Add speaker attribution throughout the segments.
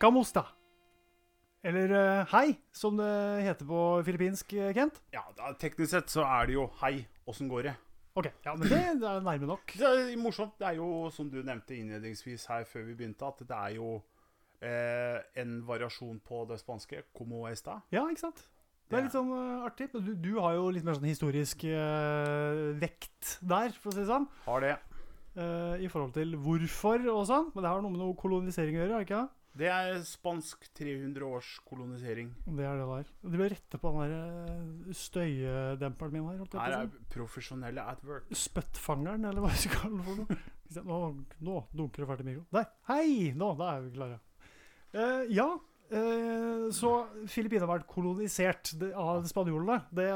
Speaker 1: Kamusta. Eller eh, hei, som det heter på filippinsk, eh, Kent.
Speaker 2: Ja, da, teknisk sett så er det jo Hei, åssen går det?
Speaker 1: Ok, ja, men det, det er nærme nok.
Speaker 2: Det er morsomt. Det er jo, som du nevnte innledningsvis her før vi begynte, at det er jo eh, en variasjon på det spanske. Como esta?
Speaker 1: Ja, ikke sant? Det er
Speaker 2: Ja.
Speaker 1: litt sånn eh, artig. men Du, du har jo litt mer sånn historisk eh, vekt der, for å si det sånn.
Speaker 2: Har det.
Speaker 1: eh, I forhold til hvorfor og sånn. Men det har noe med noe kolonisering å gjøre, har det ikke det?
Speaker 2: Det er spansk 300 års kolonisering.
Speaker 1: Det er det det er. Du bør rette på den der eh, støydemperen min her. holdt jeg på å
Speaker 2: Her
Speaker 1: si.
Speaker 2: er profesjonelle at work.
Speaker 1: Spøttfangeren, eller hva vi skal kalle det for noe. Ikke sant? Nå, nå dunker det ferdig mikro. Der! Hei! Nå, da er vi klare. Eh, ja, eh, så Filippinene har vært kolonisert det- av spanjolene. Det,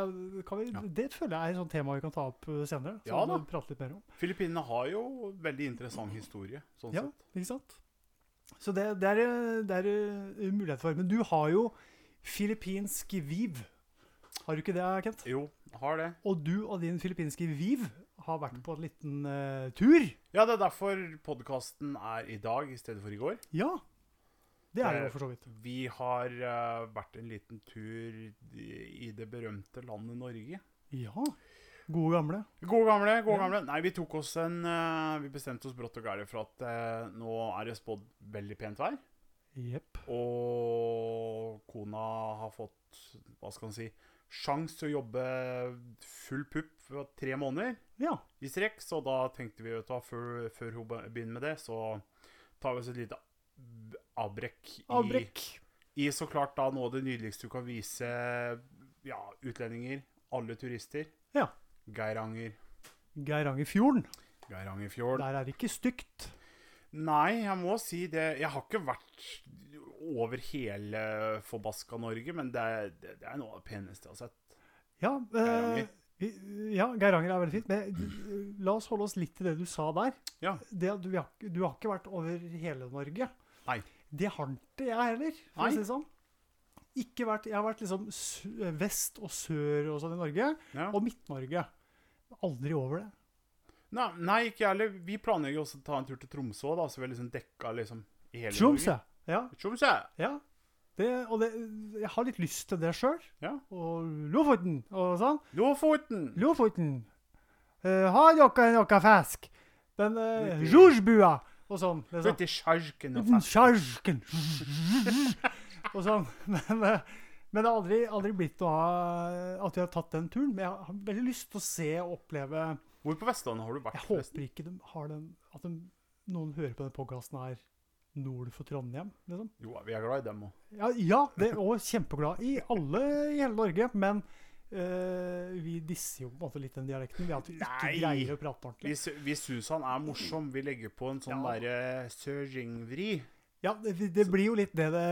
Speaker 1: kan vi,
Speaker 2: Ja.
Speaker 1: det føler jeg er et sånt tema vi kan ta opp eh, senere.
Speaker 2: Ja
Speaker 1: Som
Speaker 2: da.
Speaker 1: vi prater litt mer om.
Speaker 2: Filippinene har jo veldig interessant historie, sånn
Speaker 1: Ja,
Speaker 2: sett.
Speaker 1: ikke sant? Så det, det, er, eh, det er eh, mulighet for. Men du har jo filippinsk viv. Har du ikke det, Kent?
Speaker 2: Jo, har det.
Speaker 1: Og du og din filippinske viv har
Speaker 2: Mm.
Speaker 1: vært på en liten eh, tur.
Speaker 2: Ja, det er derfor podkasten er i dag i stedet for i går.
Speaker 1: Ja. Det er det
Speaker 2: Eh,
Speaker 1: jo for så vidt.
Speaker 2: Vi har eh, vært en liten tur i det berømte landet Norge.
Speaker 1: Ja. Gode gamle.
Speaker 2: Gode gamle, gode
Speaker 1: Ja.
Speaker 2: gamle. Nei, vi tok oss en eh, Vi bestemte oss brått og gærent for at eh, nå er det spådd veldig pent vær.
Speaker 1: Jepp.
Speaker 2: Og kona har fått, hva skal en si, sjans til å jobbe full pupp for tre måneder
Speaker 1: Ja.
Speaker 2: i strekk. Så da tenkte vi, vet du hva, før, før hun be- begynner med det, så tar vi oss et lite b- avbrekk i,
Speaker 1: Avbrekk.
Speaker 2: i så klart da noe av det nydeligste du kan vise ja, utlendinger, alle turister.
Speaker 1: Ja.
Speaker 2: Geiranger,
Speaker 1: Geirangerfjorden.
Speaker 2: Geirangerfjorden.
Speaker 1: Der er det ikke stygt.
Speaker 2: Nei, jeg må si det. Jeg har ikke vært over hele forbaska Norge, men det er, det det er noe av det peneste jeg har sett.
Speaker 1: Ja, eh,
Speaker 2: Geiranger.
Speaker 1: vi- ja, Geiranger er veldig fint. Men eh, la oss holde oss litt til det du sa der.
Speaker 2: Ja.
Speaker 1: Det at du, har, ikke- du har ikke vært over hele Norge.
Speaker 2: Nei.
Speaker 1: Det har ikke jeg heller, for
Speaker 2: Nei.
Speaker 1: å si det sånn. Ikke vært, jeg har vært liksom sø- vest og sør og sånn i Norge.
Speaker 2: Ja.
Speaker 1: Og Midt-Norge. Aldri over det.
Speaker 2: Nei, nei, ikke jeg heller. Vi planlegger også å ta en tur til Tromsø, da, så vi har liksom dekka liksom i hele
Speaker 1: Tromsø. Ja.
Speaker 2: Norge. Tromsø!
Speaker 1: ja. Det, og det, jeg har litt lyst til det sjøl.
Speaker 2: Ja.
Speaker 1: Og Lofoten og sånn.
Speaker 2: Lofoten!
Speaker 1: Lofoten. Eh, har dere noe fisk? Den uh,
Speaker 2: Ute i-
Speaker 1: Rujbua og sånn. Liksom.
Speaker 2: Ute i sjarken og
Speaker 1: Uten
Speaker 2: fest.
Speaker 1: sjarsken. og sånn. Men, eh, men det har aldri, aldri blitt noe av at vi har tatt den turen. Men jeg har veldig lyst til å se og oppleve
Speaker 2: Hvor på Vestlandet har du vært?
Speaker 1: Jeg
Speaker 2: forresten?
Speaker 1: håper ikke de har den, at de, noen hører på den podkasten her nord for Trondheim, liksom.
Speaker 2: Jo, vi er glad i dem òg.
Speaker 1: Ja, ja det, og kjempeglad i alle i hele Norge, men eh, vi disser jo på en måte litt den dialekten. Ved at vi ikke
Speaker 2: Nei.
Speaker 1: greier å prate ordentlig.
Speaker 2: Vi, sy- vi syns han er morsom. Vi legger på en sånn
Speaker 1: Ja.
Speaker 2: derre søringvri.
Speaker 1: Ja, det, det blir jo litt det det,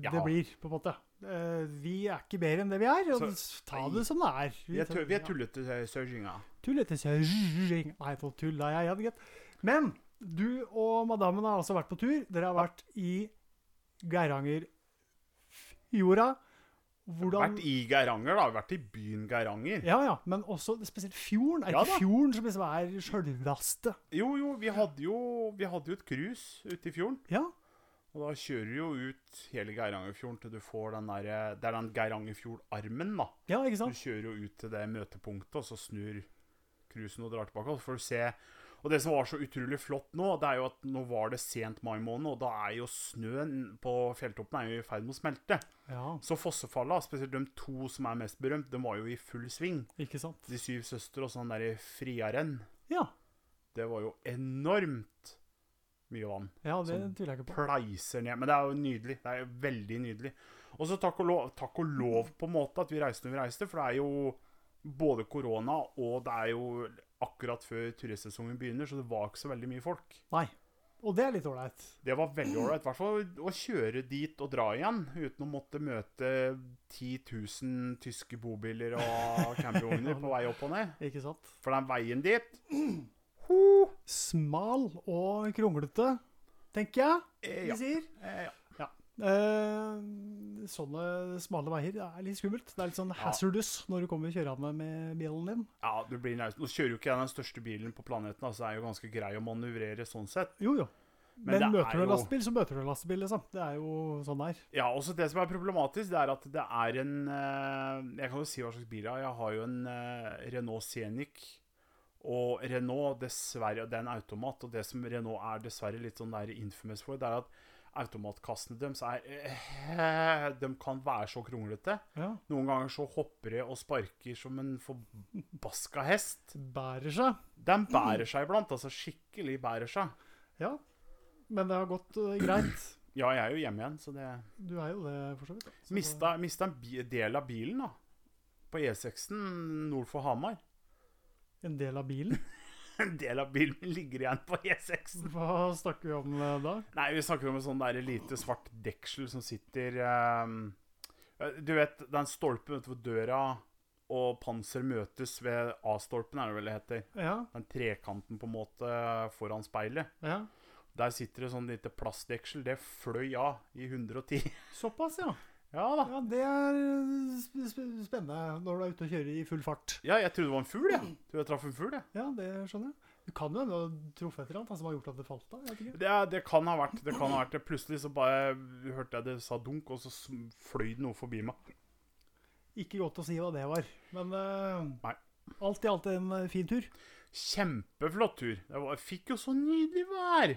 Speaker 1: det
Speaker 2: Ja.
Speaker 1: blir, på en måte. Eh, vi er ikke bedre enn det vi er, og ta det som det er.
Speaker 2: Vi er, tu- vi er
Speaker 1: ja.
Speaker 2: tullete eh, søringa.
Speaker 1: Tull etter kjøring. Nei, nå tulla jeg igjen, gitt. Men du og madammen har altså vært på tur. Dere har vært i Geirangerfjorda. Hvordan
Speaker 2: Vært i Geiranger, da. Vært i byen Geiranger.
Speaker 1: Ja, ja, men også spesielt fjorden. Er det
Speaker 2: Ja da.
Speaker 1: ikke fjorden som liksom er sjølveste?
Speaker 2: Jo, jo, vi hadde jo, vi hadde jo et cruise ute i fjorden.
Speaker 1: Ja.
Speaker 2: Og da kjører du jo ut hele Geirangerfjorden til du får den derre Det er den Geirangerfjordarmen, da.
Speaker 1: ja, ikke
Speaker 2: Du
Speaker 1: sant?
Speaker 2: kjører jo ut til det møtepunktet, og så snur cruisen og drar tilbake. Og så får du se Og det som var så utrolig flott nå, det er jo at nå var det sent mai måned, og da er jo snøen på fjelltoppen er jo i ferd med å smelte.
Speaker 1: Ja,
Speaker 2: Så fossefalla, spesielt de to som er mest berømt, de var jo i full sving.
Speaker 1: ikke sant?
Speaker 2: De syv søstre og sånn derre friarenn.
Speaker 1: Ja,
Speaker 2: Det var jo enormt mye vann.
Speaker 1: ja det
Speaker 2: Sånn
Speaker 1: tviler jeg ikke på.
Speaker 2: Pleiser ned. Men det er jo nydelig. Det er jo veldig nydelig. Og så takk og lov, takk og lov på en måte at vi reiste når vi reiste, for det er jo både korona og det er jo akkurat før turistsesongen begynner, så det var ikke så veldig mye folk.
Speaker 1: Nei. Og det er litt ålreit.
Speaker 2: Det var veldig ålreit, i hvert fall å kjøre dit og dra igjen uten å måtte møte 10 000 tyske bobiler og campingvogner på vei opp og ned.
Speaker 1: Ikke sant?
Speaker 2: For den veien dit
Speaker 1: Smal og kronglete, tenker jeg
Speaker 2: eh,
Speaker 1: vi
Speaker 2: ja.
Speaker 1: sier.
Speaker 2: Eh, ja.
Speaker 1: Eh, sånne smale veier det er litt skummelt. Det er litt sånn hazardous når du kommer kjørende med bilen din.
Speaker 2: ja, du blir nervøs. Nå kjører jo ikke jeg den største bilen på planeten, altså det er jo ganske grei å manøvrere sånn sett.
Speaker 1: Jo, jo.
Speaker 2: Men
Speaker 1: Men,
Speaker 2: det er
Speaker 1: møter du en
Speaker 2: jo-
Speaker 1: lastebil, så møter du en lastebil, liksom. Det er jo sånn det er.
Speaker 2: Ja, også det som er problematisk, det er at det er en eh, Jeg kan jo si hva slags bil jeg har. Jeg har jo en eh, Renault Scenic. Og Renault, dessverre, det er en automat. Og det som Renault er dessverre litt sånn der infamous for, det er at automatkassene deres er eh, De kan være så kronglete.
Speaker 1: Ja.
Speaker 2: Noen ganger så hopper de og sparker som en forbaska hest.
Speaker 1: Bærer seg.
Speaker 2: De bærer seg iblant. Altså skikkelig bærer seg.
Speaker 1: Ja. Men det har gått eh, greit.
Speaker 2: Ja, jeg er jo hjemme igjen, så det
Speaker 1: Du er jo det, for så vidt. da. Så det-
Speaker 2: Mista, mista en bi del av bilen da på E6 nord for Hamar.
Speaker 1: En del av bilen.
Speaker 2: En del av bilen min ligger igjen på E E6.
Speaker 1: Hva snakker vi om eh, da?
Speaker 2: Nei, vi snakker om en sånn der lite svart deksel som sitter eh, Du vet den stolpen vet du, hvor døra og panser møtes ved A-stolpen, er det vel det heter.
Speaker 1: Ja.
Speaker 2: Den trekanten på en måte foran speilet.
Speaker 1: ja.
Speaker 2: Der sitter det sånn lite plastdeksel. Det fløy av i 110.
Speaker 1: Såpass, ja.
Speaker 2: Ja da.
Speaker 1: Ja, Det er eh, sp sp spennende når du er ute og kjører i full fart.
Speaker 2: Ja, jeg trodde det var en fugl, jeg. Trodde jeg traff en fugl, jeg.
Speaker 1: Ja, det skjønner jeg. Du kan jo hende du har truffet et eller annet da, som har gjort at det falt av. jeg vet ikke.
Speaker 2: Det, er- det kan ha vært det. kan ha vært det. Plutselig så bare hørte jeg det sa dunk, og så sm- fløy det noe forbi meg.
Speaker 1: Ikke godt å si hva det var, men eh,
Speaker 2: Nei.
Speaker 1: alt i alt en eh, fin tur.
Speaker 2: Kjempeflott tur. Jeg var, fikk jo så nydelig vær.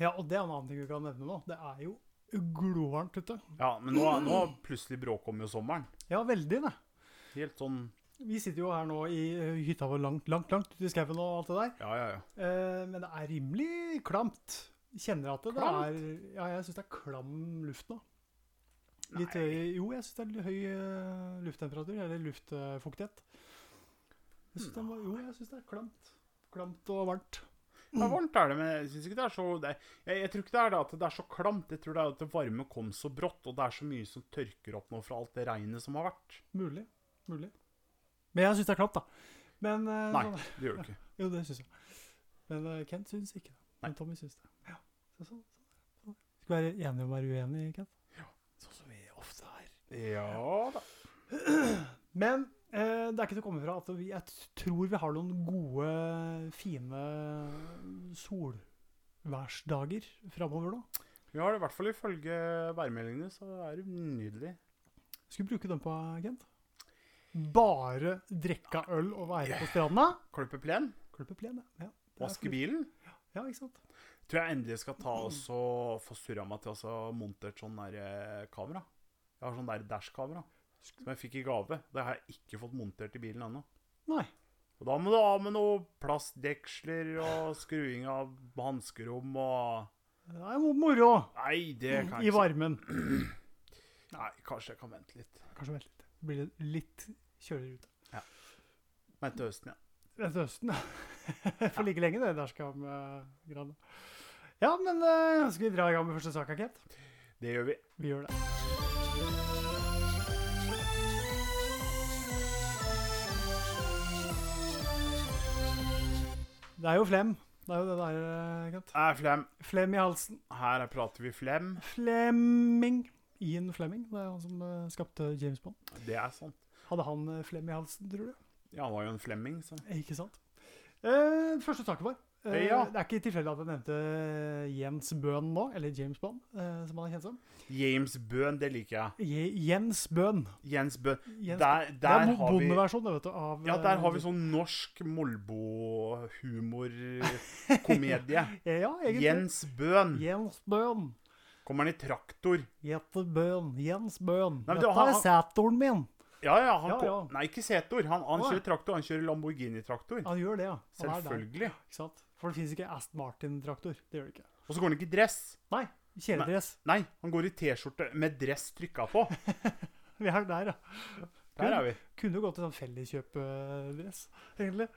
Speaker 1: Ja, og det er en annen ting vi kan nevne nå. Det er jo glovarmt ute.
Speaker 2: Ja, men nå, nå plutselig bråkommer jo sommeren.
Speaker 1: Ja, veldig, det.
Speaker 2: Helt sånn
Speaker 1: Vi sitter jo her nå i eh, hytta vår langt, langt, langt ute i skauen og alt det der.
Speaker 2: Ja, ja, ja.
Speaker 1: Eh, men det er rimelig klamt. Kjenner at det, det er Ja, jeg syns det er klam luft nå. Litt høy Jo, jeg syns det er høy eh, lufttemperatur, eller luftfuktighet. Jeg synes det var, jo, jeg syns det er klamt. Klamt og varmt.
Speaker 2: Det er varmt, er det, men jeg synes ikke det er så det, jeg, jeg tror ikke det er det at det er så klamt. Jeg tror det er at det varme kom så brått, og det er så mye som tørker opp nå fra alt det regnet som har vært.
Speaker 1: Mulig. Mulig. Men jeg syns det er klamt, da. Men eh,
Speaker 2: Nei,
Speaker 1: sånn-
Speaker 2: det gjør det ikke.
Speaker 1: Jo, det syns jeg. Men eh, Kent syns ikke det. Men Tommy syns det. Ja. Så, sånn- sånn. Skal være enige om å være uenige, Kent. Ja. Sånn som vi ofte er.
Speaker 2: Ja da.
Speaker 1: Men eh, det er ikke til å komme fra at vi, jeg t- tror vi har noen gode, fine solværsdager framover nå.
Speaker 2: Vi har det i hvert fall ifølge værmeldingene, så er det nydelig.
Speaker 1: Skal vi bruke den på, Kent? Bare drikke øl og være på stranda?
Speaker 2: Klippe plen,
Speaker 1: Klippe plen, ja. ja. det er
Speaker 2: vaske bilen.
Speaker 1: fornuftig. Ja, ikke sant?
Speaker 2: Tror jeg endelig skal ta og så få surra meg til å så montert sånn der eh, kamera. Jeg har sånn der dash-kamera som jeg fikk i gave. Det har jeg ikke fått montert i bilen ennå.
Speaker 1: Nei.
Speaker 2: Og da må du ha med noe plastdeksler og skruing av hanskerom og
Speaker 1: Det er jo moro
Speaker 2: Nei, det kan
Speaker 1: Mm, i
Speaker 2: jeg ikke.
Speaker 1: varmen.
Speaker 2: Nei, kanskje jeg kan vente litt.
Speaker 1: Kanskje vent litt. Det blir litt kjøligere ute.
Speaker 2: Vent til høsten, ja.
Speaker 1: Vent til høsten, ja. For like lenge, det der skal med graden. Ja, men eh, skal vi dra i gang med første sak, Kent?
Speaker 2: Det gjør vi.
Speaker 1: Vi gjør det. Det er jo flem. Det er jo det der, eh, Kent.
Speaker 2: Er flem.
Speaker 1: Flem i halsen.
Speaker 2: Her prater vi flem.
Speaker 1: Flemming. Ian Flemming. Det er han som eh, skapte James Bond.
Speaker 2: Det er sant.
Speaker 1: Hadde han eh, flem i halsen, tror du?
Speaker 2: Ja, han var jo en flemming, så
Speaker 1: Eh, Ikke sant? Eh, første saken vår. Eh,
Speaker 2: Ja.
Speaker 1: Det er ikke tilfeldig at jeg nevnte eh, Jens Bøhn nå, eller James Bond, eh, som han er kjent som.
Speaker 2: James Bøhn, det liker jeg.
Speaker 1: Je Jens Bøhn.
Speaker 2: Jens Bøhn.
Speaker 1: Jens
Speaker 2: Der,
Speaker 1: Det er bo-
Speaker 2: der har vi
Speaker 1: bondeversjonen, vet du. Av,
Speaker 2: Ja, der har vi
Speaker 1: eh,
Speaker 2: sånn norsk Molbo-humorkomedie.
Speaker 1: eh, Ja, egentlig.
Speaker 2: Jens Bøhn.
Speaker 1: Jens Bøhn.
Speaker 2: Kommer han i traktor?
Speaker 1: Jette Bøhn. Jens Bøhn.
Speaker 2: Nei, men du,
Speaker 1: Dette
Speaker 2: han-
Speaker 1: er satoren min.
Speaker 2: Ja, ja. han
Speaker 1: Ja,
Speaker 2: ko-
Speaker 1: ja.
Speaker 2: Nei, ikke Setor. Han, han
Speaker 1: Å, ja.
Speaker 2: kjører traktor. Han kjører Lamborghini-traktor.
Speaker 1: Han gjør det, ja. Han er der,
Speaker 2: Selvfølgelig.
Speaker 1: ikke sant? For det fins ikke Aston Martin-traktor. Det gjør det ikke.
Speaker 2: Og så går han ikke i dress.
Speaker 1: Nei. Kjeledress.
Speaker 2: Nei, han går i T-skjorte med dress trykka på.
Speaker 1: Vi er der, ja.
Speaker 2: Der er vi.
Speaker 1: Kunne jo gått til sånn felleskjøpedress, egentlig.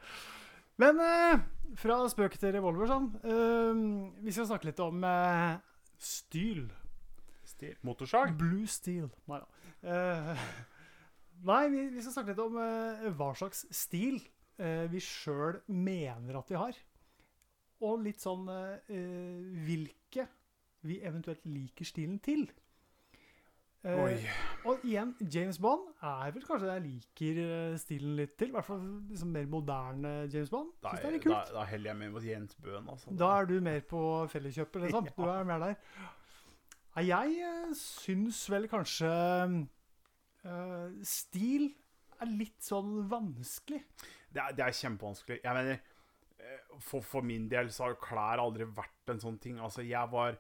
Speaker 1: Men eh, fra spøk til revolver, sånn. Eh, vi skal snakke litt om eh, styl.
Speaker 2: Stil. Motorsag.
Speaker 1: Blue Steel. Nei da. Eh, nei, vi, vi skal snakke litt om eh, hva slags stil eh, vi sjøl mener at vi har. Og litt sånn eh, eh, hvilke vi eventuelt liker stilen til. Eh,
Speaker 2: Oi.
Speaker 1: og igjen, James Bond er vel kanskje det jeg liker eh, stilen litt til. I hvert fall liksom mer moderne James Bond.
Speaker 2: Da,
Speaker 1: Synes det
Speaker 2: er-
Speaker 1: er litt
Speaker 2: da,
Speaker 1: kult.
Speaker 2: da heller jeg meg mot Jens Bøhn, altså.
Speaker 1: Da er du mer på felleskjøpet, liksom. Du er mer der. Nei, Jeg eh, syns vel kanskje eh, Stil er litt sånn vanskelig.
Speaker 2: Det er, det er kjempevanskelig. Jeg mener, eh, for, for min del så har klær aldri vært en sånn ting. Altså, jeg var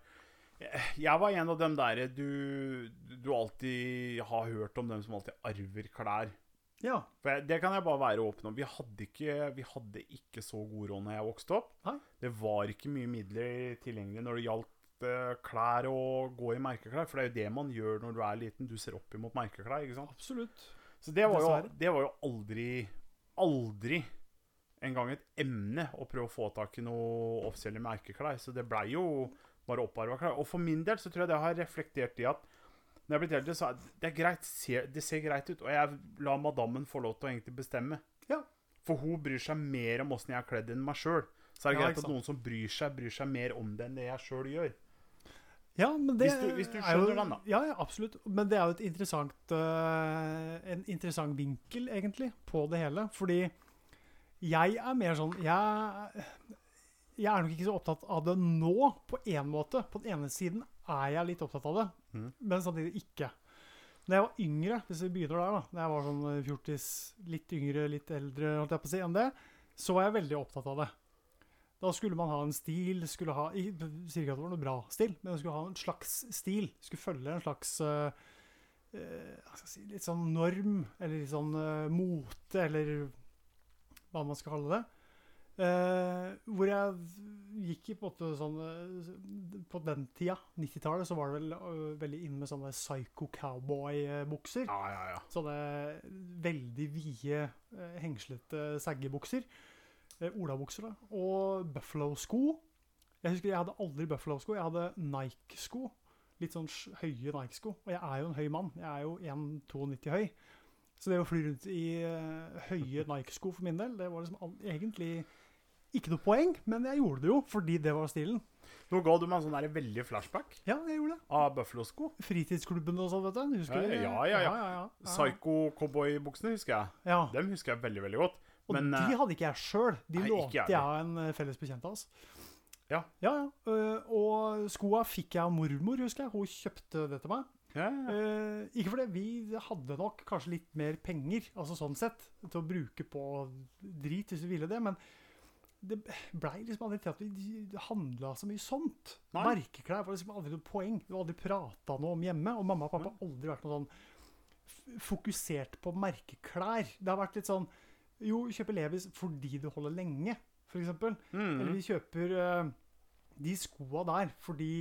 Speaker 2: eh, jeg var en av dem der du, du alltid har hørt om dem som alltid arver klær.
Speaker 1: Ja.
Speaker 2: For jeg, Det kan jeg bare være åpen om. Vi hadde ikke, vi hadde ikke så god råd når jeg vokste opp.
Speaker 1: Nei.
Speaker 2: Det var ikke mye midler tilgjengelig når det gjaldt eh, klær og gå i merkeklær. For det er jo det man gjør når du er liten. Du ser opp imot merkeklær. ikke sant?
Speaker 1: Absolutt.
Speaker 2: Så det var jo,
Speaker 1: Dessverre.
Speaker 2: det var jo aldri Aldri engang et emne å prøve å få tak i noe offisielle merkeklær. Så det blei jo bare opparva klær. Og for min del så tror jeg det har reflektert i at når jeg er blitt eldre, så er det er greit, ser, det ser greit ut. Og jeg lar madammen få lov til å egentlig bestemme.
Speaker 1: Ja.
Speaker 2: For hun bryr seg mer om åssen jeg er kledd enn meg sjøl. Så er det
Speaker 1: Ja,
Speaker 2: greit
Speaker 1: ikke
Speaker 2: at
Speaker 1: sant.
Speaker 2: noen som bryr seg, bryr seg mer om det enn det jeg sjøl gjør.
Speaker 1: Ja, men det
Speaker 2: Hvis du- hvis du
Speaker 1: er jo-
Speaker 2: skjønner den, da.
Speaker 1: Ja, ja, absolutt. Men det er jo et interessant, eh, en interessant vinkel, egentlig, på det hele. Fordi jeg er mer sånn jeg, jeg er nok ikke så opptatt av det nå, på én måte. På den ene siden er jeg litt opptatt av det,
Speaker 2: Mhm.
Speaker 1: men samtidig ikke. Da jeg var yngre, hvis vi begynner der, da da jeg var sånn eh, fjortis, litt yngre, litt eldre, holdt jeg på å si, enn det, så var jeg veldig opptatt av det. Da skulle man ha en stil skulle ha, Jeg sier ikke at det var noe bra stil, men man skulle ha en slags stil. Skulle følge en slags eh, eh, hva skal jeg si, litt sånn norm, eller litt sånn eh, mote, eller hva man skal kalle det. Eh, hvor jeg gikk i på en måte sånn eh, På den tida, 90-tallet, så var det vel eh, veldig inn med sånne eh, psycho-cowboy-bukser.
Speaker 2: Ja, ja, ja.
Speaker 1: Sånne veldig vide, eh, hengslete saggebukser. Eh, Olabukser, da. Og Buffalo-sko. Jeg husker jeg hadde aldri Buffalo-sko. Jeg hadde Nike-sko. Litt sånn sj- høye Nike-sko. Og jeg er jo en høy mann. Jeg er jo 1,92 høy. Så det å fly rundt i eh, høye Nike-sko for min del, det var liksom al- egentlig ikke noe poeng, men jeg gjorde det jo fordi det var stilen.
Speaker 2: Nå ga du meg en sånn der veldig flashback
Speaker 1: Ja, jeg gjorde det.
Speaker 2: av Buffalo-sko.
Speaker 1: Fritidsklubben og sånn, vet du. Husker du? det?
Speaker 2: Ja, ja, ja, ja.
Speaker 1: ja, ja.
Speaker 2: Psycho-cowboybuksene husker jeg.
Speaker 1: Ja.
Speaker 2: Dem husker jeg veldig, veldig godt.
Speaker 1: Og
Speaker 2: Men eh,
Speaker 1: de hadde ikke jeg sjøl. De
Speaker 2: nei, ikke
Speaker 1: lånte
Speaker 2: jeg
Speaker 1: jeg av en eh, felles bekjent av oss.
Speaker 2: Ja.
Speaker 1: ja, ja. Eh, Og skoa fikk jeg av mormor, husker jeg. Hun kjøpte det til meg.
Speaker 2: ja, ja, ja.
Speaker 1: Eh, ikke fordi vi hadde nok kanskje litt mer penger, altså sånn sett, til å bruke på drit hvis vi ville det, men det blei liksom aldri til at vi handla så mye sånt.
Speaker 2: Nei.
Speaker 1: Merkeklær var liksom aldri noe poeng. Du har aldri prata noe om hjemme, og mamma og pappa har aldri vært noe sånn f- fokusert på merkeklær. Det har vært litt sånn Jo, kjøper Levis fordi du holder lenge, f.eks. Eller
Speaker 2: Mm.
Speaker 1: vi kjøper eh, de skoa der fordi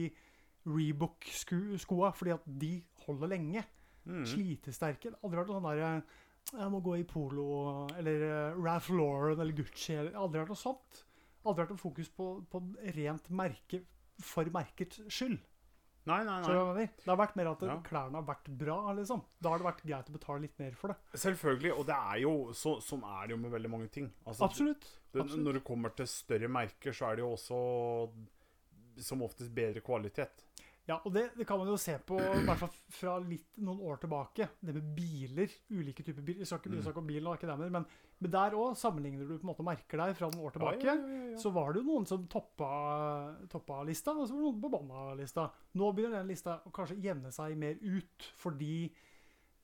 Speaker 1: Rebook-skoa, fordi at de holder lenge.
Speaker 2: Mm.
Speaker 1: Slitesterke. Det har aldri vært noe sånn der eh, Jeg må gå i polo eller eh, Ralph Lauren eller Gucci. Eller, det har aldri vært noe sånt. Aldri vært noe fokus på, på rent merke for merkets skyld.
Speaker 2: Nei, nei,
Speaker 1: Skjønner du hva jeg
Speaker 2: nei.
Speaker 1: mener? Det har vært mer at eh,
Speaker 2: Ja.
Speaker 1: klærne har vært bra, liksom. Da har det vært greit å betale litt mer for det.
Speaker 2: Selvfølgelig. Og det er jo så, sånn er det jo med veldig mange ting. Altså,
Speaker 1: Absolutt.
Speaker 2: det-
Speaker 1: absolutt.
Speaker 2: Når det kommer til større merker, så er det jo også som oftest bedre kvalitet.
Speaker 1: Ja, og det, det kan man jo se på i hvert fall fra litt, noen år tilbake. Det med biler, ulike typer biler. Vi skal ikke begynne
Speaker 2: Mm.
Speaker 1: å snakke om bil nå, ikke det, men- men, men der òg sammenligner du på en måte merker deg fra noen år tilbake.
Speaker 2: Ja, ja, ja, ja.
Speaker 1: Så var det jo noen som toppa, toppa lista, og så var det noen på bånn av lista. Nå begynner den lista å kanskje jevne seg mer ut, fordi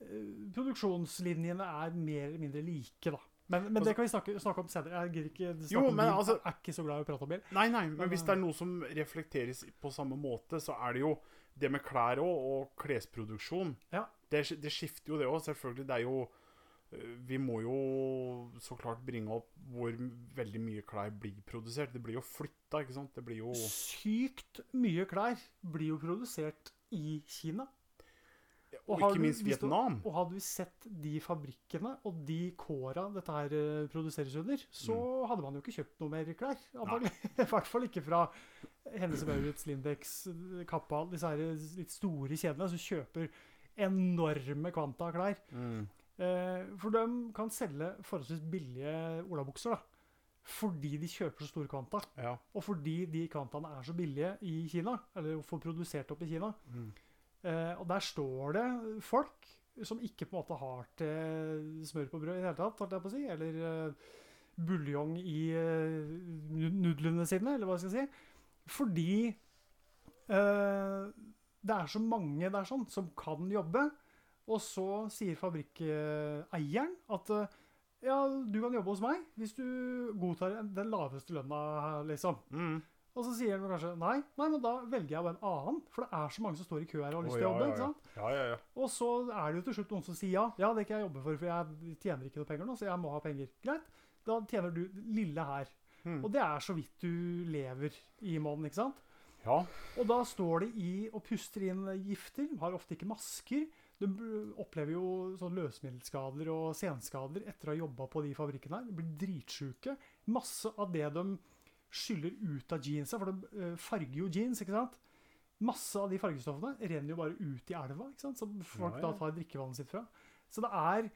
Speaker 1: eh, produksjonslinjene er mer eller mindre like, da. Men, men det kan vi snakke, snakke om senere. Jeg gidder ikke snakke
Speaker 2: Altså Jo,
Speaker 1: om
Speaker 2: men
Speaker 1: bil.
Speaker 2: altså-
Speaker 1: Jeg er ikke så glad i å prate om bil.
Speaker 2: Nei, nei, men hvis det er noe som reflekteres på samme måte, så er det jo det med klær òg, og klesproduksjon.
Speaker 1: Ja.
Speaker 2: Det, sk- det skifter jo det òg, selvfølgelig. Det er jo øh, Vi må jo så klart bringe opp hvor m- veldig mye klær blir produsert. Det blir jo flytta, ikke sant? Det blir jo
Speaker 1: Sykt mye klær blir jo produsert i Kina.
Speaker 2: Og
Speaker 1: har
Speaker 2: ikke
Speaker 1: du-
Speaker 2: minst
Speaker 1: hvis du-
Speaker 2: Vietnam.
Speaker 1: Og hadde vi sett de fabrikkene og de kåra dette her eh, produseres under, så
Speaker 2: Mm.
Speaker 1: hadde man jo ikke kjøpt noe mer klær. Antagelig. I hvert fall ikke fra Hennes Maurits, Lindex, eh, Kappa, disse her eh, litt store kjedene som kjøper enorme kvanta av klær.
Speaker 2: Mm.
Speaker 1: Eh, for de kan selge forholdsvis billige olabukser, da. Fordi de kjøper så store kvanta.
Speaker 2: Ja.
Speaker 1: Og fordi de kvantaene er så billige i Kina, eller får produsert opp i Kina, Eh, og der står det folk som ikke på en måte har til smør på brød i det hele tatt, holdt jeg på å si, eller eh, buljong i eh, nu- nudlene sine, eller hva jeg skal si. Fordi eh, det er så mange der sånn som kan jobbe, og så sier fabrikkeieren at eh, ja, du kan jobbe hos meg hvis du godtar den laveste lønna, liksom.
Speaker 2: Mm.
Speaker 1: Og så sier han vel kanskje nei, nei, men da velger jeg bare en annen. For det er så mange som står i kø her og har lyst til å
Speaker 2: Å, ja,
Speaker 1: jobbe.
Speaker 2: ja,
Speaker 1: ikke sant?
Speaker 2: Ja, ja, ja.
Speaker 1: Og så er det jo til slutt noen som sier ja. Ja, det kan jeg jobbe for, for jeg tjener ikke noe penger nå, så jeg må ha penger. Greit. Da tjener du det lille her.
Speaker 2: Mm.
Speaker 1: Og det er så vidt du lever i måneden, ikke sant?
Speaker 2: ja.
Speaker 1: Og da står de i og puster inn gifter, har ofte ikke masker. De b- opplever jo sånn løsemiddelskader og senskader etter å ha jobba på de fabrikkene her. De blir dritsjuke. Masse av det de skyller ut av jeansa, for de eh, farger jo jeans, ikke sant. Masse av de fargestoffene renner jo bare ut i elva, ikke sant, som folk
Speaker 2: Ja, ja.
Speaker 1: da tar drikkevannet sitt fra. Så det er,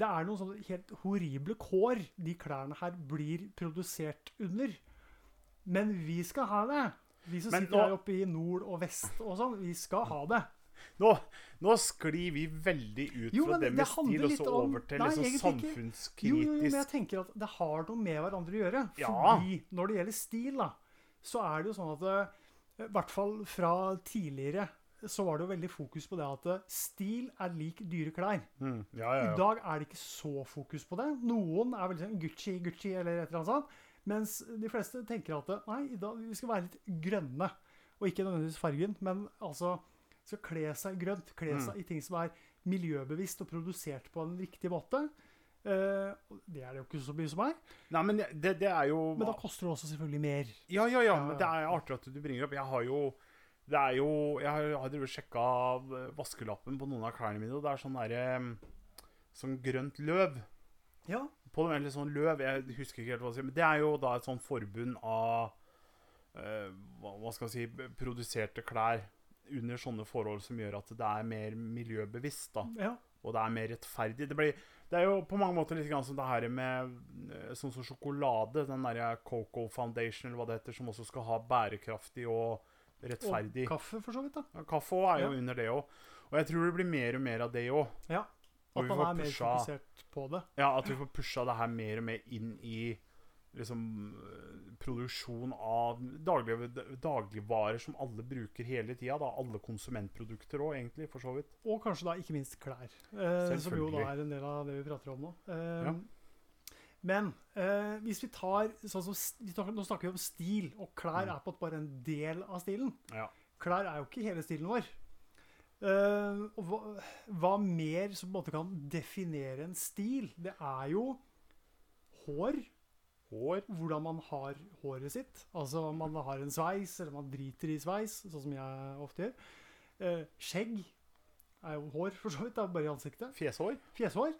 Speaker 1: det er noen sånne helt horrible kår de klærne her blir produsert under. Men vi skal ha det! Vi som
Speaker 2: Men
Speaker 1: sitter
Speaker 2: nå-
Speaker 1: her oppe i nord og vest og sånn, vi skal ha det.
Speaker 2: Nå, nå sklir vi veldig ut
Speaker 1: Jo,
Speaker 2: fra
Speaker 1: men
Speaker 2: det
Speaker 1: det
Speaker 2: med
Speaker 1: handler
Speaker 2: stil og så
Speaker 1: litt om-
Speaker 2: over til
Speaker 1: Nei,
Speaker 2: liksom
Speaker 1: egentlig ikke. Jo, jo, jo, men jeg
Speaker 2: samfunnskritisk
Speaker 1: tenker at det har noe med hverandre å gjøre.
Speaker 2: Ja.
Speaker 1: Fordi når det gjelder stil, da, så er det jo sånn at eh, I hvert fall fra tidligere så var det jo veldig fokus på det at eh, stil er lik dyre klær.
Speaker 2: mm. Ja, ja,
Speaker 1: I
Speaker 2: ja.
Speaker 1: dag er det ikke så fokus på det. Noen er veldig sånn Gucci, Gucci eller et eller annet sånt. Mens de fleste tenker at nei, i dag, vi skal være litt grønne. Og ikke nødvendigvis fargen, men altså skal kle seg grønt. Kle
Speaker 2: Mm.
Speaker 1: seg i ting som er miljøbevisst og produsert på en riktig måte. Eh, og det er det jo ikke så mye som er.
Speaker 2: Nei, men det, det er jo
Speaker 1: Men da koster det også selvfølgelig mer.
Speaker 2: Ja, ja, ja.
Speaker 1: Ja,
Speaker 2: Men
Speaker 1: ja.
Speaker 2: det er artig at du bringer opp. Jeg har jo det er jo, Jeg har, jeg har drevet og sjekka eh, vaskelappen på noen av klærne mine, og det er sånn derre Sånn grønt løv
Speaker 1: Ja.
Speaker 2: på dem. Eller sånn løv, jeg husker ikke helt hva det sier. Men det er jo da et sånn forbund av eh, hva, hva skal jeg si Produserte klær under sånne forhold som gjør at det er mer miljøbevisst, da.
Speaker 1: ja.
Speaker 2: Og det er mer rettferdig. Det, blir, det er jo på mange måter litt grann som det her med eh, sånn som sjokolade. Den derre Coco Foundation, eller hva det heter, som også skal ha bærekraftig og
Speaker 1: Og
Speaker 2: rettferdig.
Speaker 1: kaffe, for så vidt. da.
Speaker 2: Ja, Kaffe også er jo
Speaker 1: Ja.
Speaker 2: under det òg. Og jeg tror det blir mer og mer av det òg.
Speaker 1: Ja.
Speaker 2: Og
Speaker 1: At
Speaker 2: vi
Speaker 1: man
Speaker 2: får
Speaker 1: er mer
Speaker 2: pusha-
Speaker 1: fokusert på det.
Speaker 2: Ja, at vi får pusha det her mer og mer inn i liksom eh, produksjon av daglig, dagligvarer som alle bruker hele tida. Alle konsumentprodukter òg, egentlig, for så vidt.
Speaker 1: Og kanskje da ikke minst klær, eh, som jo da
Speaker 2: Selvfølgelig.
Speaker 1: er en del av det vi prater om nå. Eh,
Speaker 2: Ja.
Speaker 1: Men eh, hvis vi tar sånn som, s- vi snakker, Nå snakker vi om stil, og klær
Speaker 2: Mm.
Speaker 1: er på en måte bare en del av stilen.
Speaker 2: Ja.
Speaker 1: Klær er jo ikke hele stilen vår. Eh, og hva, hva mer som på en måte kan definere en stil? Det er jo hår,
Speaker 2: Hår.
Speaker 1: hvordan man har håret sitt. Altså om man har en sveis, eller man driter i sveis, sånn som jeg ofte gjør. Eh, skjegg er jo hår, for så vidt. Det er bare i ansiktet.
Speaker 2: Fjeshår.
Speaker 1: Fjeshår,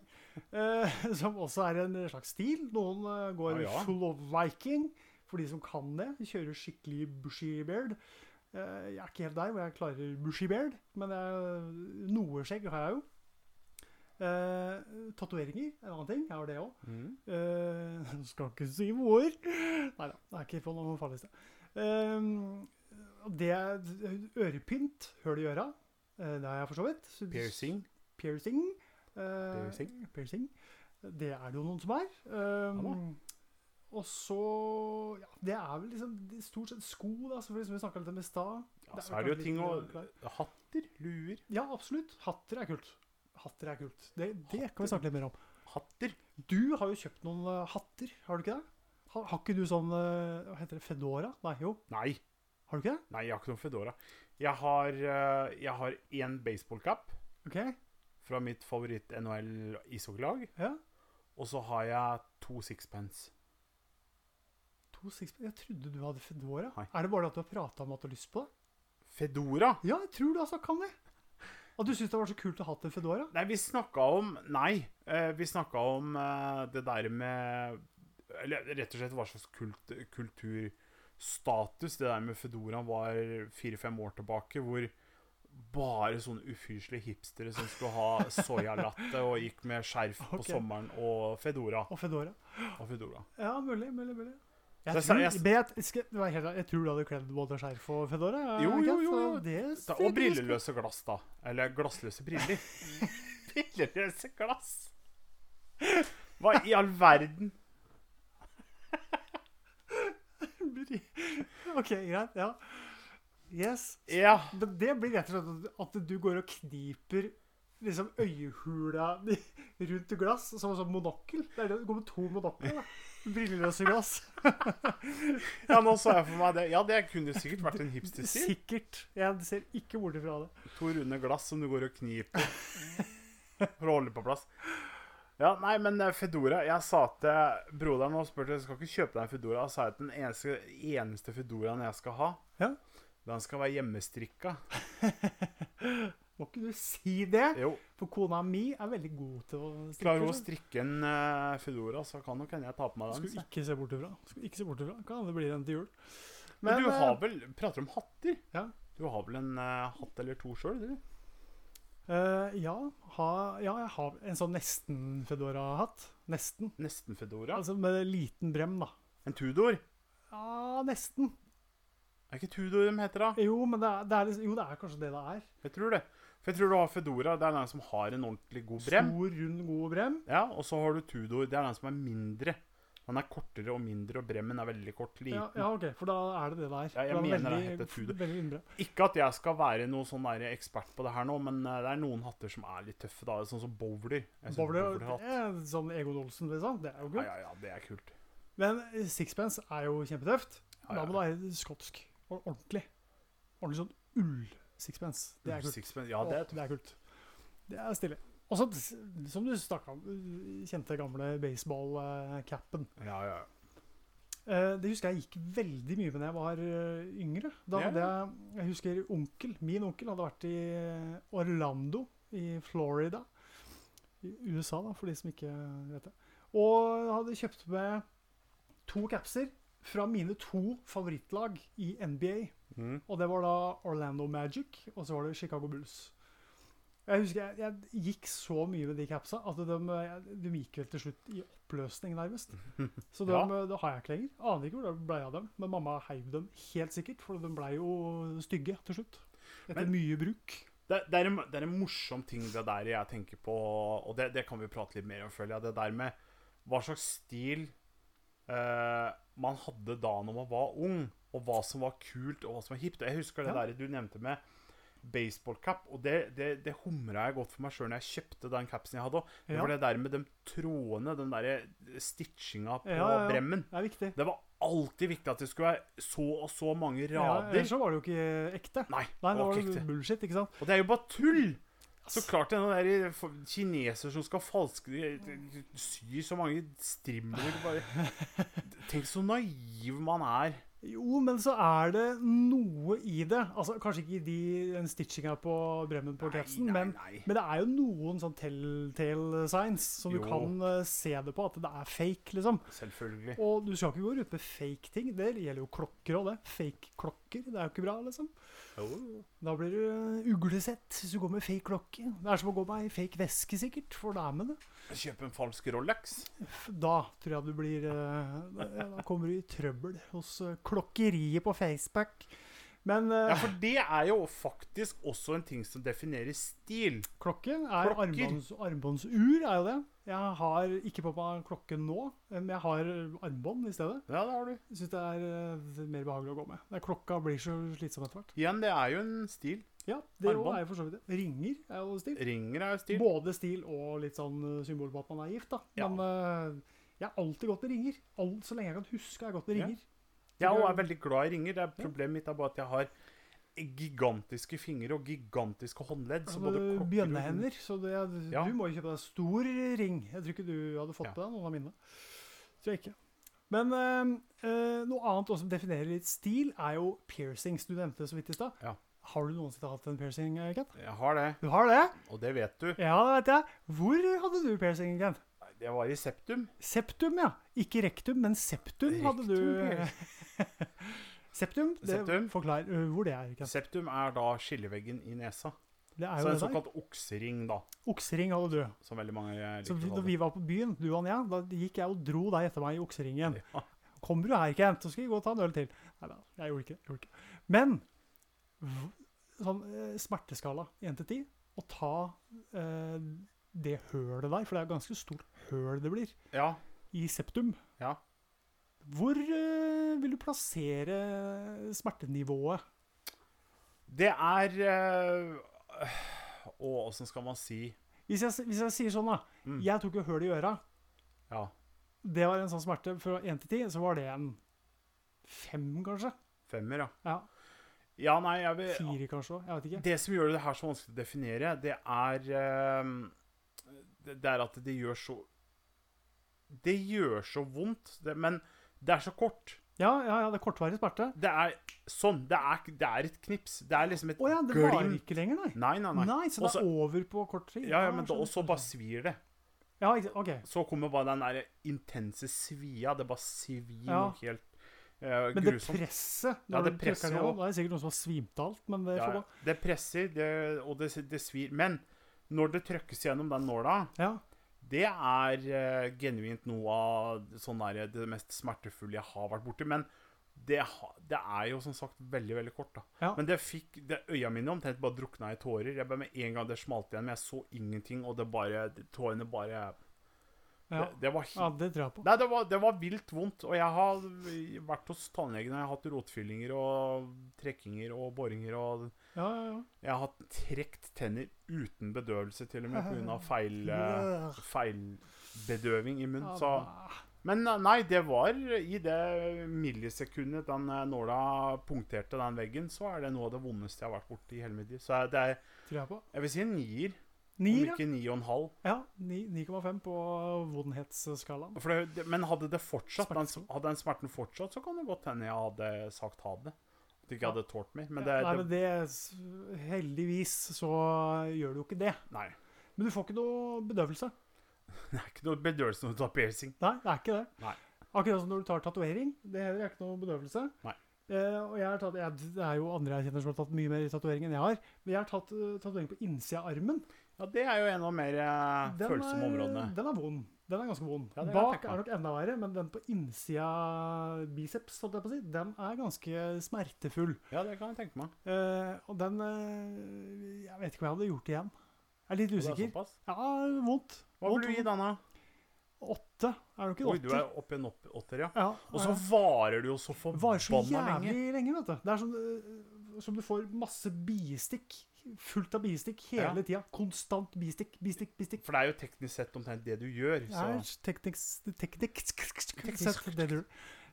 Speaker 1: eh, som også er en slags stil. Noen eh, går
Speaker 2: Ja, ja.
Speaker 1: full of viking, for de som kan det. Kjører skikkelig bushy beard. Eh, jeg er ikke helt der hvor jeg klarer bushy beard, men jeg, noe skjegg har jeg jo. Eh, Tatoveringer er en annen ting. Jeg har det òg.
Speaker 2: Mm.
Speaker 1: Eh, skal ikke si hvor. Nei da, det er ikke på noen farlig sted. Eh, det er ørepynt, høl i øra. Eh, det har jeg for så vidt. Så-
Speaker 2: Piercing.
Speaker 1: Piercing. Eh,
Speaker 2: Piercing.
Speaker 1: piercing. Det er det jo noen som er. Eh, og så ja, Det er vel liksom det er stort sett sko, da, selvfølgelig, som vi snakka litt om i stad.
Speaker 2: Ja,
Speaker 1: Det er
Speaker 2: så er det jo
Speaker 1: kanskje
Speaker 2: ting å
Speaker 1: litt, eh,
Speaker 2: Hatter, luer,
Speaker 1: Ja, absolutt. Hatter er kult. Hatter er kult. Det, det kan vi
Speaker 2: Hatter.
Speaker 1: snakke litt mer om.
Speaker 2: hatter.
Speaker 1: Du har jo kjøpt noen eh, hatter, har du ikke det? Har, har ikke du sånn eh, Hva heter det? Fedora? Nei, jo.
Speaker 2: Nei,
Speaker 1: Har du ikke det?
Speaker 2: nei, jeg har ikke noen Fedora. Jeg har, eh, jeg har én baseballcap
Speaker 1: OK.
Speaker 2: fra mitt favoritt-NHL ishockeylag.
Speaker 1: Ja.
Speaker 2: Og så har jeg to sixpence.
Speaker 1: To sixpack Jeg trodde du hadde Fedora.
Speaker 2: Nei.
Speaker 1: Er det bare at du har prata om at du har lyst på det?
Speaker 2: Fedora?
Speaker 1: Ja, jeg tror du altså kan det. At du syns det var så kult å ha hatt en Fedora?
Speaker 2: Nei, vi snakka om Nei, eh, vi snakka om eh, det der med Eller rett og slett hva slags kult, kulturstatus det der med Fedoraen var fire-fem år tilbake, hvor bare sånne ufyselige hipstere som skulle ha soyalatte og gikk med skjerf på
Speaker 1: Ok.
Speaker 2: sommeren og Fedora
Speaker 1: Og Fedora.
Speaker 2: og Fedora.
Speaker 1: Ja, mulig, mulig, mulig. Jeg,
Speaker 2: Det er
Speaker 1: tror,
Speaker 2: seriøst.
Speaker 1: men jeg, skal, være helt ærlig, jeg tror du hadde kledd både skjerf og fedora. er
Speaker 2: Jo,
Speaker 1: det
Speaker 2: jo,
Speaker 1: ikke?
Speaker 2: jo,
Speaker 1: Så
Speaker 2: jo.
Speaker 1: det
Speaker 2: Da,
Speaker 1: setter
Speaker 2: og
Speaker 1: jeg pris på.
Speaker 2: brilleløse glass, da. Eller glassløse briller. brilleløse glass! Hva i all verden?
Speaker 1: OK, greit. Ja. Yes.
Speaker 2: Ja.
Speaker 1: Men det blir rett og slett at- at du går og kniper liksom øyehula rundt glass, som en sånn monokkel. Det er det, du går med to monokler. da. Brilleløse glass.
Speaker 2: ja, nå så jeg for meg det. Ja, det kunne sikkert vært en hipsterstil.
Speaker 1: Sikkert. Jeg ser ikke bort ifra det.
Speaker 2: To runde glass som du går og kniper for å holde på plass. Ja, nei, men eh, Fedora Jeg sa til broderen og spurte skal ikke kjøpe deg en Fedora. Jeg sa at den eneste, eneste Fedoraen jeg skal ha,
Speaker 1: Ja.
Speaker 2: den skal være hjemmestrikka.
Speaker 1: Må ikke du si det?
Speaker 2: Jo,
Speaker 1: For kona mi er veldig god til å strikke.
Speaker 2: klarer hun å
Speaker 1: så
Speaker 2: strikke en eh, Fedora, så kan nok hende jeg tar på meg den.
Speaker 1: Skulle ikke se bort ifra. Skulle ikke se bort ifra. Kan hende det blir en til jul.
Speaker 2: Men, du
Speaker 1: eh,
Speaker 2: har vel Prater om hatter?
Speaker 1: Ja.
Speaker 2: Du har vel en eh, hatt eller to sjøl, du?
Speaker 1: eh, ja, ha, ja, jeg har en sånn nesten-Fedora-hatt. Nesten.
Speaker 2: Nesten Fedora.
Speaker 1: Altså med liten brem, da.
Speaker 2: En Tudor?
Speaker 1: Ja, nesten.
Speaker 2: Er ikke Tudor de heter, da?
Speaker 1: Jo, men det er, det er, liksom, jo, det er kanskje det det er.
Speaker 2: Jeg tror det. For jeg tror du har Fedora, det er den som har en ordentlig god brem.
Speaker 1: Stor, rund, god brem.
Speaker 2: Ja, Og så har du Tudor, det er den som er mindre. Den er kortere og mindre, og bremmen er veldig kort. Liten.
Speaker 1: Ja, ja, ok, for da er det det der.
Speaker 2: Ja, jeg mener det heter Tudor.
Speaker 1: Veldig innbrem.
Speaker 2: Ikke at jeg skal være noen sånn der ekspert på det her nå, men eh, det er noen hatter som er litt tøffe, da. Sånn som bowler. Jeg synes
Speaker 1: Bowler,
Speaker 2: bowlerhatt-
Speaker 1: det er sånn Egon Olsen, liksom. Det er jo
Speaker 2: Ja,
Speaker 1: kult.
Speaker 2: ja, ja, det er kult.
Speaker 1: Men eh, sixpence er jo kjempetøft.
Speaker 2: Ja,
Speaker 1: Da
Speaker 2: ja.
Speaker 1: må det være skotsk. og Ordentlig. Ordentlig sånn ull-sixpence. Det er kult.
Speaker 2: Sixpence, Ja, det er
Speaker 1: Å, det er kult. Det er stilig. Og så, som du snakka om, kjente gamle baseball-capen.
Speaker 2: tøft. Ja, ja.
Speaker 1: Eh, Det husker jeg gikk veldig mye med da jeg var eh, yngre. Da
Speaker 2: Ja,
Speaker 1: hadde jeg, jeg husker onkel, min onkel hadde vært i Orlando i Florida. I USA, da, for de som ikke vet det. Og hadde kjøpt med to capser fra mine to favorittlag i NBA.
Speaker 2: Mm.
Speaker 1: Og det var da Orlando Magic, og så var det Chicago Bulls. Jeg husker jeg, jeg gikk så mye med de capsa at de, jeg- de gikk vel til slutt i oppløsning, nærmest. Så de,
Speaker 2: Ja.
Speaker 1: det har jeg ikke lenger. Aner ikke hvor det ble av dem. Men mamma heiv dem helt sikkert, for de ble jo stygge til slutt. Etter
Speaker 2: Men-
Speaker 1: mye bruk.
Speaker 2: Det, det, er en, det er en morsom ting det der jeg tenker på, og det, det kan vi prate litt mer om, føler jeg. Det der med hva slags stil eh, man hadde da når man var ung, og hva som var kult, og hva som var hipt. Og Jeg husker det
Speaker 1: Ja.
Speaker 2: der du nevnte med baseballcap, og det, det, det humra jeg godt for meg sjøl når jeg kjøpte den capsen jeg hadde òg. Det
Speaker 1: Ja.
Speaker 2: var det der med de trådene, den derre stitchinga på
Speaker 1: Ja, ja, ja.
Speaker 2: bremmen.
Speaker 1: Det er viktig.
Speaker 2: Det var alltid viktig at det skulle være så og så mange
Speaker 1: Ja,
Speaker 2: rader.
Speaker 1: ellers så var det jo ikke ekte.
Speaker 2: Nei,
Speaker 1: Nei, det
Speaker 2: det
Speaker 1: var
Speaker 2: var
Speaker 1: jo
Speaker 2: ikke riktig.
Speaker 1: bullshit, ikke sant?
Speaker 2: Og det er jo bare tull! Så klart det er noen der for- kineser som skal falske Sy så mange strimler bare. Tenk så naiv man er.
Speaker 1: Jo, men så er det noe i det. Altså, Kanskje ikke i de, den stitchinga på bremmen på
Speaker 2: Nei,
Speaker 1: capsen,
Speaker 2: nei,
Speaker 1: men,
Speaker 2: nei.
Speaker 1: men det er jo noen sånn telltale signs som
Speaker 2: Jo.
Speaker 1: du kan eh, se det på, at det er fake, liksom.
Speaker 2: Selvfølgelig.
Speaker 1: Og du skal ikke gå rundt med fake ting. Det gjelder jo klokker og det. Fake klokker, det er jo ikke bra, liksom. Da blir du eh, uglesett hvis du går med fake klokke. Det er som å gå med ei fake veske, sikkert, for det er med det.
Speaker 2: Kjøp en falsk Rolex.
Speaker 1: Da tror jeg du blir eh, Da da kommer du i trøbbel hos eh, klokkeriet på Facebook. Men eh,
Speaker 2: Ja, for det er jo faktisk også en ting som definerer stil.
Speaker 1: Klokke er
Speaker 2: Klokker.
Speaker 1: armbånds, armbåndsur, er jo det. Jeg har ikke på meg klokke nå, men jeg har armbånd i stedet.
Speaker 2: Ja, det har du.
Speaker 1: Syns det er eh, mer behagelig å gå med. Det er- klokka blir så slitsom etter hvert.
Speaker 2: Igjen, det er jo en stil.
Speaker 1: Ja, det jo
Speaker 2: Armbånd.
Speaker 1: er jo for så vidt det. Ringer er jo stil.
Speaker 2: Ringer er jo stil.
Speaker 1: Både stil og litt sånn eh, symbol på at man er gift, da.
Speaker 2: Ja.
Speaker 1: Men eh, jeg har alltid gått med ringer. Alt, så lenge jeg kan huske, har jeg gått med
Speaker 2: Ja.
Speaker 1: ringer.
Speaker 2: Jeg er også veldig glad i ringer. Det er Problemet mitt er bare at jeg har gigantiske fingre og gigantiske håndledd. Så både
Speaker 1: Hadde
Speaker 2: klokker og-
Speaker 1: Bjønnehender, så det, er-
Speaker 2: Ja.
Speaker 1: du må jo kjøpe deg en stor ring. Jeg tror ikke du hadde fått
Speaker 2: Ja.
Speaker 1: på deg noen av mine. Tror jeg ikke. Men eh, eh, noe annet også som definerer litt stil, er jo piercings. Du nevnte det så vidt i stad.
Speaker 2: Ja.
Speaker 1: Har du noensinne hatt en piercing, eh, Kent?
Speaker 2: Jeg har det,
Speaker 1: Du har det?
Speaker 2: og det vet du.
Speaker 1: Ja, det vet jeg. Hvor hadde du piercing, Kent?
Speaker 2: Det var i septum.
Speaker 1: Septum, ja. Ikke rektum, men septum hadde du. eh,
Speaker 2: Rektum
Speaker 1: Septum, det
Speaker 2: Septum.
Speaker 1: forklar eh, hvor det er. Kent.
Speaker 2: Septum er da skilleveggen i nesa.
Speaker 1: Det er
Speaker 2: Så
Speaker 1: jo
Speaker 2: en
Speaker 1: det der.
Speaker 2: såkalt oksering, da,
Speaker 1: Oksering hadde du.
Speaker 2: som veldig mange eh,
Speaker 1: Så vi,
Speaker 2: liker å
Speaker 1: når
Speaker 2: kalle
Speaker 1: vi
Speaker 2: det.
Speaker 1: var på byen, du og jeg, da gikk jeg og dro deg etter meg i okseringen.
Speaker 2: Ja.
Speaker 1: Kommer du her, Kent, så skal vi gå og ta en øl til. Nei da, jeg gjorde ikke det. Jeg gjorde ikke. det. Men v- sånn eh, smerteskala 1 til 10, å ta eh, det hølet der, for det er ganske stort høl det blir,
Speaker 2: Ja.
Speaker 1: i septum.
Speaker 2: Ja.
Speaker 1: Hvor eh, vil du plassere smertenivået?
Speaker 2: Det er eh, Å, åssen skal man si
Speaker 1: Hvis jeg, s- hvis jeg sier sånn, da.
Speaker 2: Mm.
Speaker 1: Jeg tok jo høl i øra.
Speaker 2: Ja,
Speaker 1: Det var en sånn smerte fra 1 til 10, så var det en 5, kanskje?
Speaker 2: femmer, ja.
Speaker 1: Ja,
Speaker 2: Ja, nei, jeg vil
Speaker 1: 4 kanskje også, jeg vet ikke.
Speaker 2: Det som gjør det her så vanskelig å definere, det er eh, det, det er at det gjør så Det gjør så vondt, det, men det er så kort.
Speaker 1: Ja, ja, ja, det er kortvarig smerte.
Speaker 2: Det er sånn. Det er, ikke- det er et knips. Det er liksom et
Speaker 1: Å ja, det varer
Speaker 2: glimt.
Speaker 1: ikke lenger, nei.
Speaker 2: Nei, nei,
Speaker 1: Nei,
Speaker 2: nei.
Speaker 1: så det er
Speaker 2: Også-
Speaker 1: over på kort tid.
Speaker 2: Ja, ja, men da
Speaker 1: Ah, skjønner,
Speaker 2: også
Speaker 1: skjønner.
Speaker 2: bare svir det.
Speaker 1: Ja, ikke, ok.
Speaker 2: Så kommer bare den der intense svia. Det bare svir
Speaker 1: Ja.
Speaker 2: noe helt eh,
Speaker 1: Men det
Speaker 2: grusomt.
Speaker 1: presset,
Speaker 2: Ja,
Speaker 1: når
Speaker 2: det
Speaker 1: du trykker
Speaker 2: presset
Speaker 1: ned,
Speaker 2: også.
Speaker 1: da er det sikkert noen som har svimt av alt, men det
Speaker 2: ja,
Speaker 1: får
Speaker 2: ja.
Speaker 1: gå.
Speaker 2: det presser, det, og det, det svir. Men når det trøkkes gjennom den nåla,
Speaker 1: Ja,
Speaker 2: Det er eh, genuint noe av sånn der, det mest smertefulle jeg har vært borti. Men det, ha- det er jo som sagt veldig veldig kort. da.
Speaker 1: Ja.
Speaker 2: Men det fikk, det øya mine omtrent bare drukna i tårer. Jeg bare Med en gang det smalt igjen, men jeg så ingenting, og det bare, tårene bare
Speaker 1: ja.
Speaker 2: det, det var
Speaker 1: ja,
Speaker 2: helt
Speaker 1: det tror jeg på.
Speaker 2: Nei, det var, det var vilt vondt. Og jeg har vært hos tannlegen, og jeg har hatt rotfyllinger og trekkinger og boringer og
Speaker 1: Ja, ja,
Speaker 2: Jeg har hatt trekt tenner uten bedøvelse, til og med pga. feil eh,
Speaker 1: ja.
Speaker 2: feilbedøving i munnen.
Speaker 1: Ja,
Speaker 2: Så.
Speaker 1: da.
Speaker 2: Men eh, nei, det var i det millisekundet den eh, nåla punkterte den veggen, så er det noe av det vondeste jeg har vært borti i hele mitt liv. Så jeg- det er,
Speaker 1: Tror jeg på.
Speaker 2: jeg vil si en nier,
Speaker 1: Nier,
Speaker 2: om
Speaker 1: ja.
Speaker 2: ikke ni og en halv.
Speaker 1: Ja, ni- 9,5 på vondhetsskalaen.
Speaker 2: For det, det- men hadde det fortsatt, den,
Speaker 1: Smerteskala.
Speaker 2: hadde den smerten fortsatt, så kan det godt hende jeg hadde sagt ha det. At jeg ikke
Speaker 1: Ja.
Speaker 2: hadde tålt mer. Men det,
Speaker 1: Ja, Nei, men
Speaker 2: det
Speaker 1: det s- Heldigvis så gjør du jo ikke det.
Speaker 2: Nei.
Speaker 1: Men du får ikke noe bedøvelse.
Speaker 2: Det er ikke noe bedøvelse når du tar piercing.
Speaker 1: Nei, det er ikke det.
Speaker 2: Nei.
Speaker 1: Akkurat som når du tar tatovering. Det er heller ikke noe bedøvelse.
Speaker 2: Nei.
Speaker 1: Eh, og jeg har tatt, jeg, Det er jo andre jeg kjenner som har tatt mye mer tatovering enn jeg har. Men jeg har tatt eh, tatovering på innsida av armen.
Speaker 2: Ja, det er jo en av de mer eh,
Speaker 1: Den
Speaker 2: følsomme områdene.
Speaker 1: Den er vond. Den er ganske vond.
Speaker 2: Ja, det kan jeg
Speaker 1: Bak
Speaker 2: tenke
Speaker 1: er
Speaker 2: meg.
Speaker 1: nok enda verre, men den på innsida av biceps, holdt jeg på å si, den er ganske smertefull.
Speaker 2: Ja, det kan jeg tenke meg.
Speaker 1: Eh, og den eh, Jeg vet ikke hva jeg hadde gjort igjen. Jeg er litt
Speaker 2: Og det er
Speaker 1: usikker.
Speaker 2: såpass.
Speaker 1: Ja, vondt.
Speaker 2: Hva vil du gi denne?
Speaker 1: Åtte. Er du ikke
Speaker 2: Oi,
Speaker 1: en
Speaker 2: du
Speaker 1: åtter?
Speaker 2: er oppe i en opp- åtter, ja.
Speaker 1: Ja, eh.
Speaker 2: Og
Speaker 1: ja.
Speaker 2: så varer det jo så
Speaker 1: varer så
Speaker 2: forbanna
Speaker 1: jævlig
Speaker 2: lenge.
Speaker 1: lenge. vet du. Det er sånn øh, som du får masse biestikk. Fullt av biestikk hele
Speaker 2: Ja.
Speaker 1: tida. Konstant biestikk, biestikk, biestikk.
Speaker 2: For det er jo teknisk sett omtrent det du gjør.
Speaker 1: Det
Speaker 2: Så.
Speaker 1: er teknisk Teknisk sett det du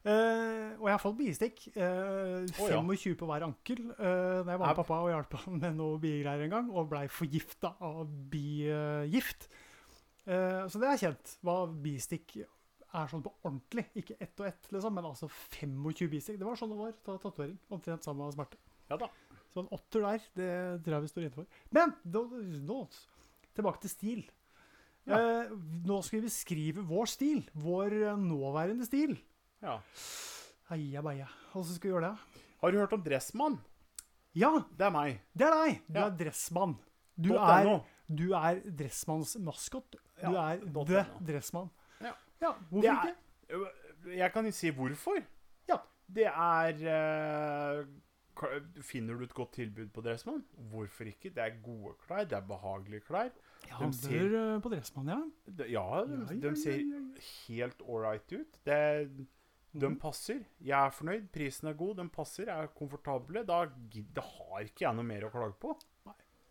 Speaker 1: Eh, og jeg har fått biestikk. eh,
Speaker 2: Å, ja.
Speaker 1: 25 på hver ankel. Uh, jeg var med
Speaker 2: Au.
Speaker 1: pappa og hjalp ham med noe biegreier en gang, og blei forgifta av bigift. Eh, så det er kjent, hva bistikk er sånn på ordentlig. Ikke ett og ett, liksom, men altså 25 bistikk. Det var sånn det var da tatovering. Omtrent samme smerte.
Speaker 2: Ja da.
Speaker 1: Så en åtter der, det tror jeg vi står inne for. Men nå, nå tilbake til stil.
Speaker 2: Ja.
Speaker 1: Eh, nå skal vi beskrive vår stil. Vår eh, nåværende stil.
Speaker 2: Ja.
Speaker 1: Heia beia. Hvordan skal vi gjøre det?
Speaker 2: Har du hørt om Dressmann?
Speaker 1: Ja,
Speaker 2: Det er meg.
Speaker 1: det er deg! Du
Speaker 2: Ja.
Speaker 1: er dressmann. Du
Speaker 2: Dot
Speaker 1: er,
Speaker 2: .no.
Speaker 1: du er dressmanns maskot. Du
Speaker 2: Ja,
Speaker 1: er
Speaker 2: dot
Speaker 1: the
Speaker 2: .no.
Speaker 1: dressmann.
Speaker 2: Ja.
Speaker 1: hvorfor
Speaker 2: Det er-
Speaker 1: ikke?
Speaker 2: Jeg kan jo si hvorfor.
Speaker 1: Ja.
Speaker 2: Det er eh, ka- Finner du et godt tilbud på Dressmann? Hvorfor ikke? Det er gode klær, det er behagelige klær.
Speaker 1: Jeg handler
Speaker 2: ser-
Speaker 1: eh, på dressmann, ja.
Speaker 2: De, ja, de,
Speaker 1: Ja, ja,
Speaker 2: de
Speaker 1: ja,
Speaker 2: ser helt ålreit ut. Det, de
Speaker 1: Mhm.
Speaker 2: passer. Jeg er fornøyd. Prisen er god, de passer, er komfortable. Da, gid- da har ikke jeg noe mer å klage på.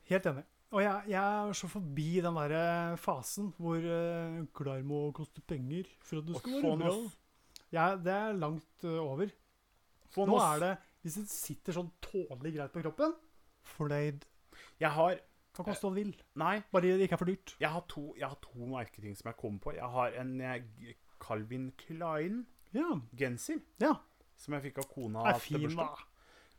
Speaker 1: Helt enig. Og jeg, jeg er så forbi den der eh, fasen hvor uh, klær må koste penger for at du
Speaker 2: Og
Speaker 1: skal være
Speaker 2: få noe
Speaker 1: bra. Jeg, det er langt eh, over.
Speaker 2: Få
Speaker 1: Nå
Speaker 2: noe
Speaker 1: er det Hvis det sitter sånn tålelig greit på kroppen, fornøyd.
Speaker 2: Jeg har
Speaker 1: Kan koste hva det vil.
Speaker 2: Nei,
Speaker 1: Bare det ikke er for dyrt.
Speaker 2: jeg har to, jeg har to merketing som jeg kommer på. Jeg har en eh, G- Calvin Klein-genser
Speaker 1: Ja. ja.
Speaker 2: som jeg fikk av kona
Speaker 1: Er
Speaker 2: til
Speaker 1: fin, da.
Speaker 2: bursdag.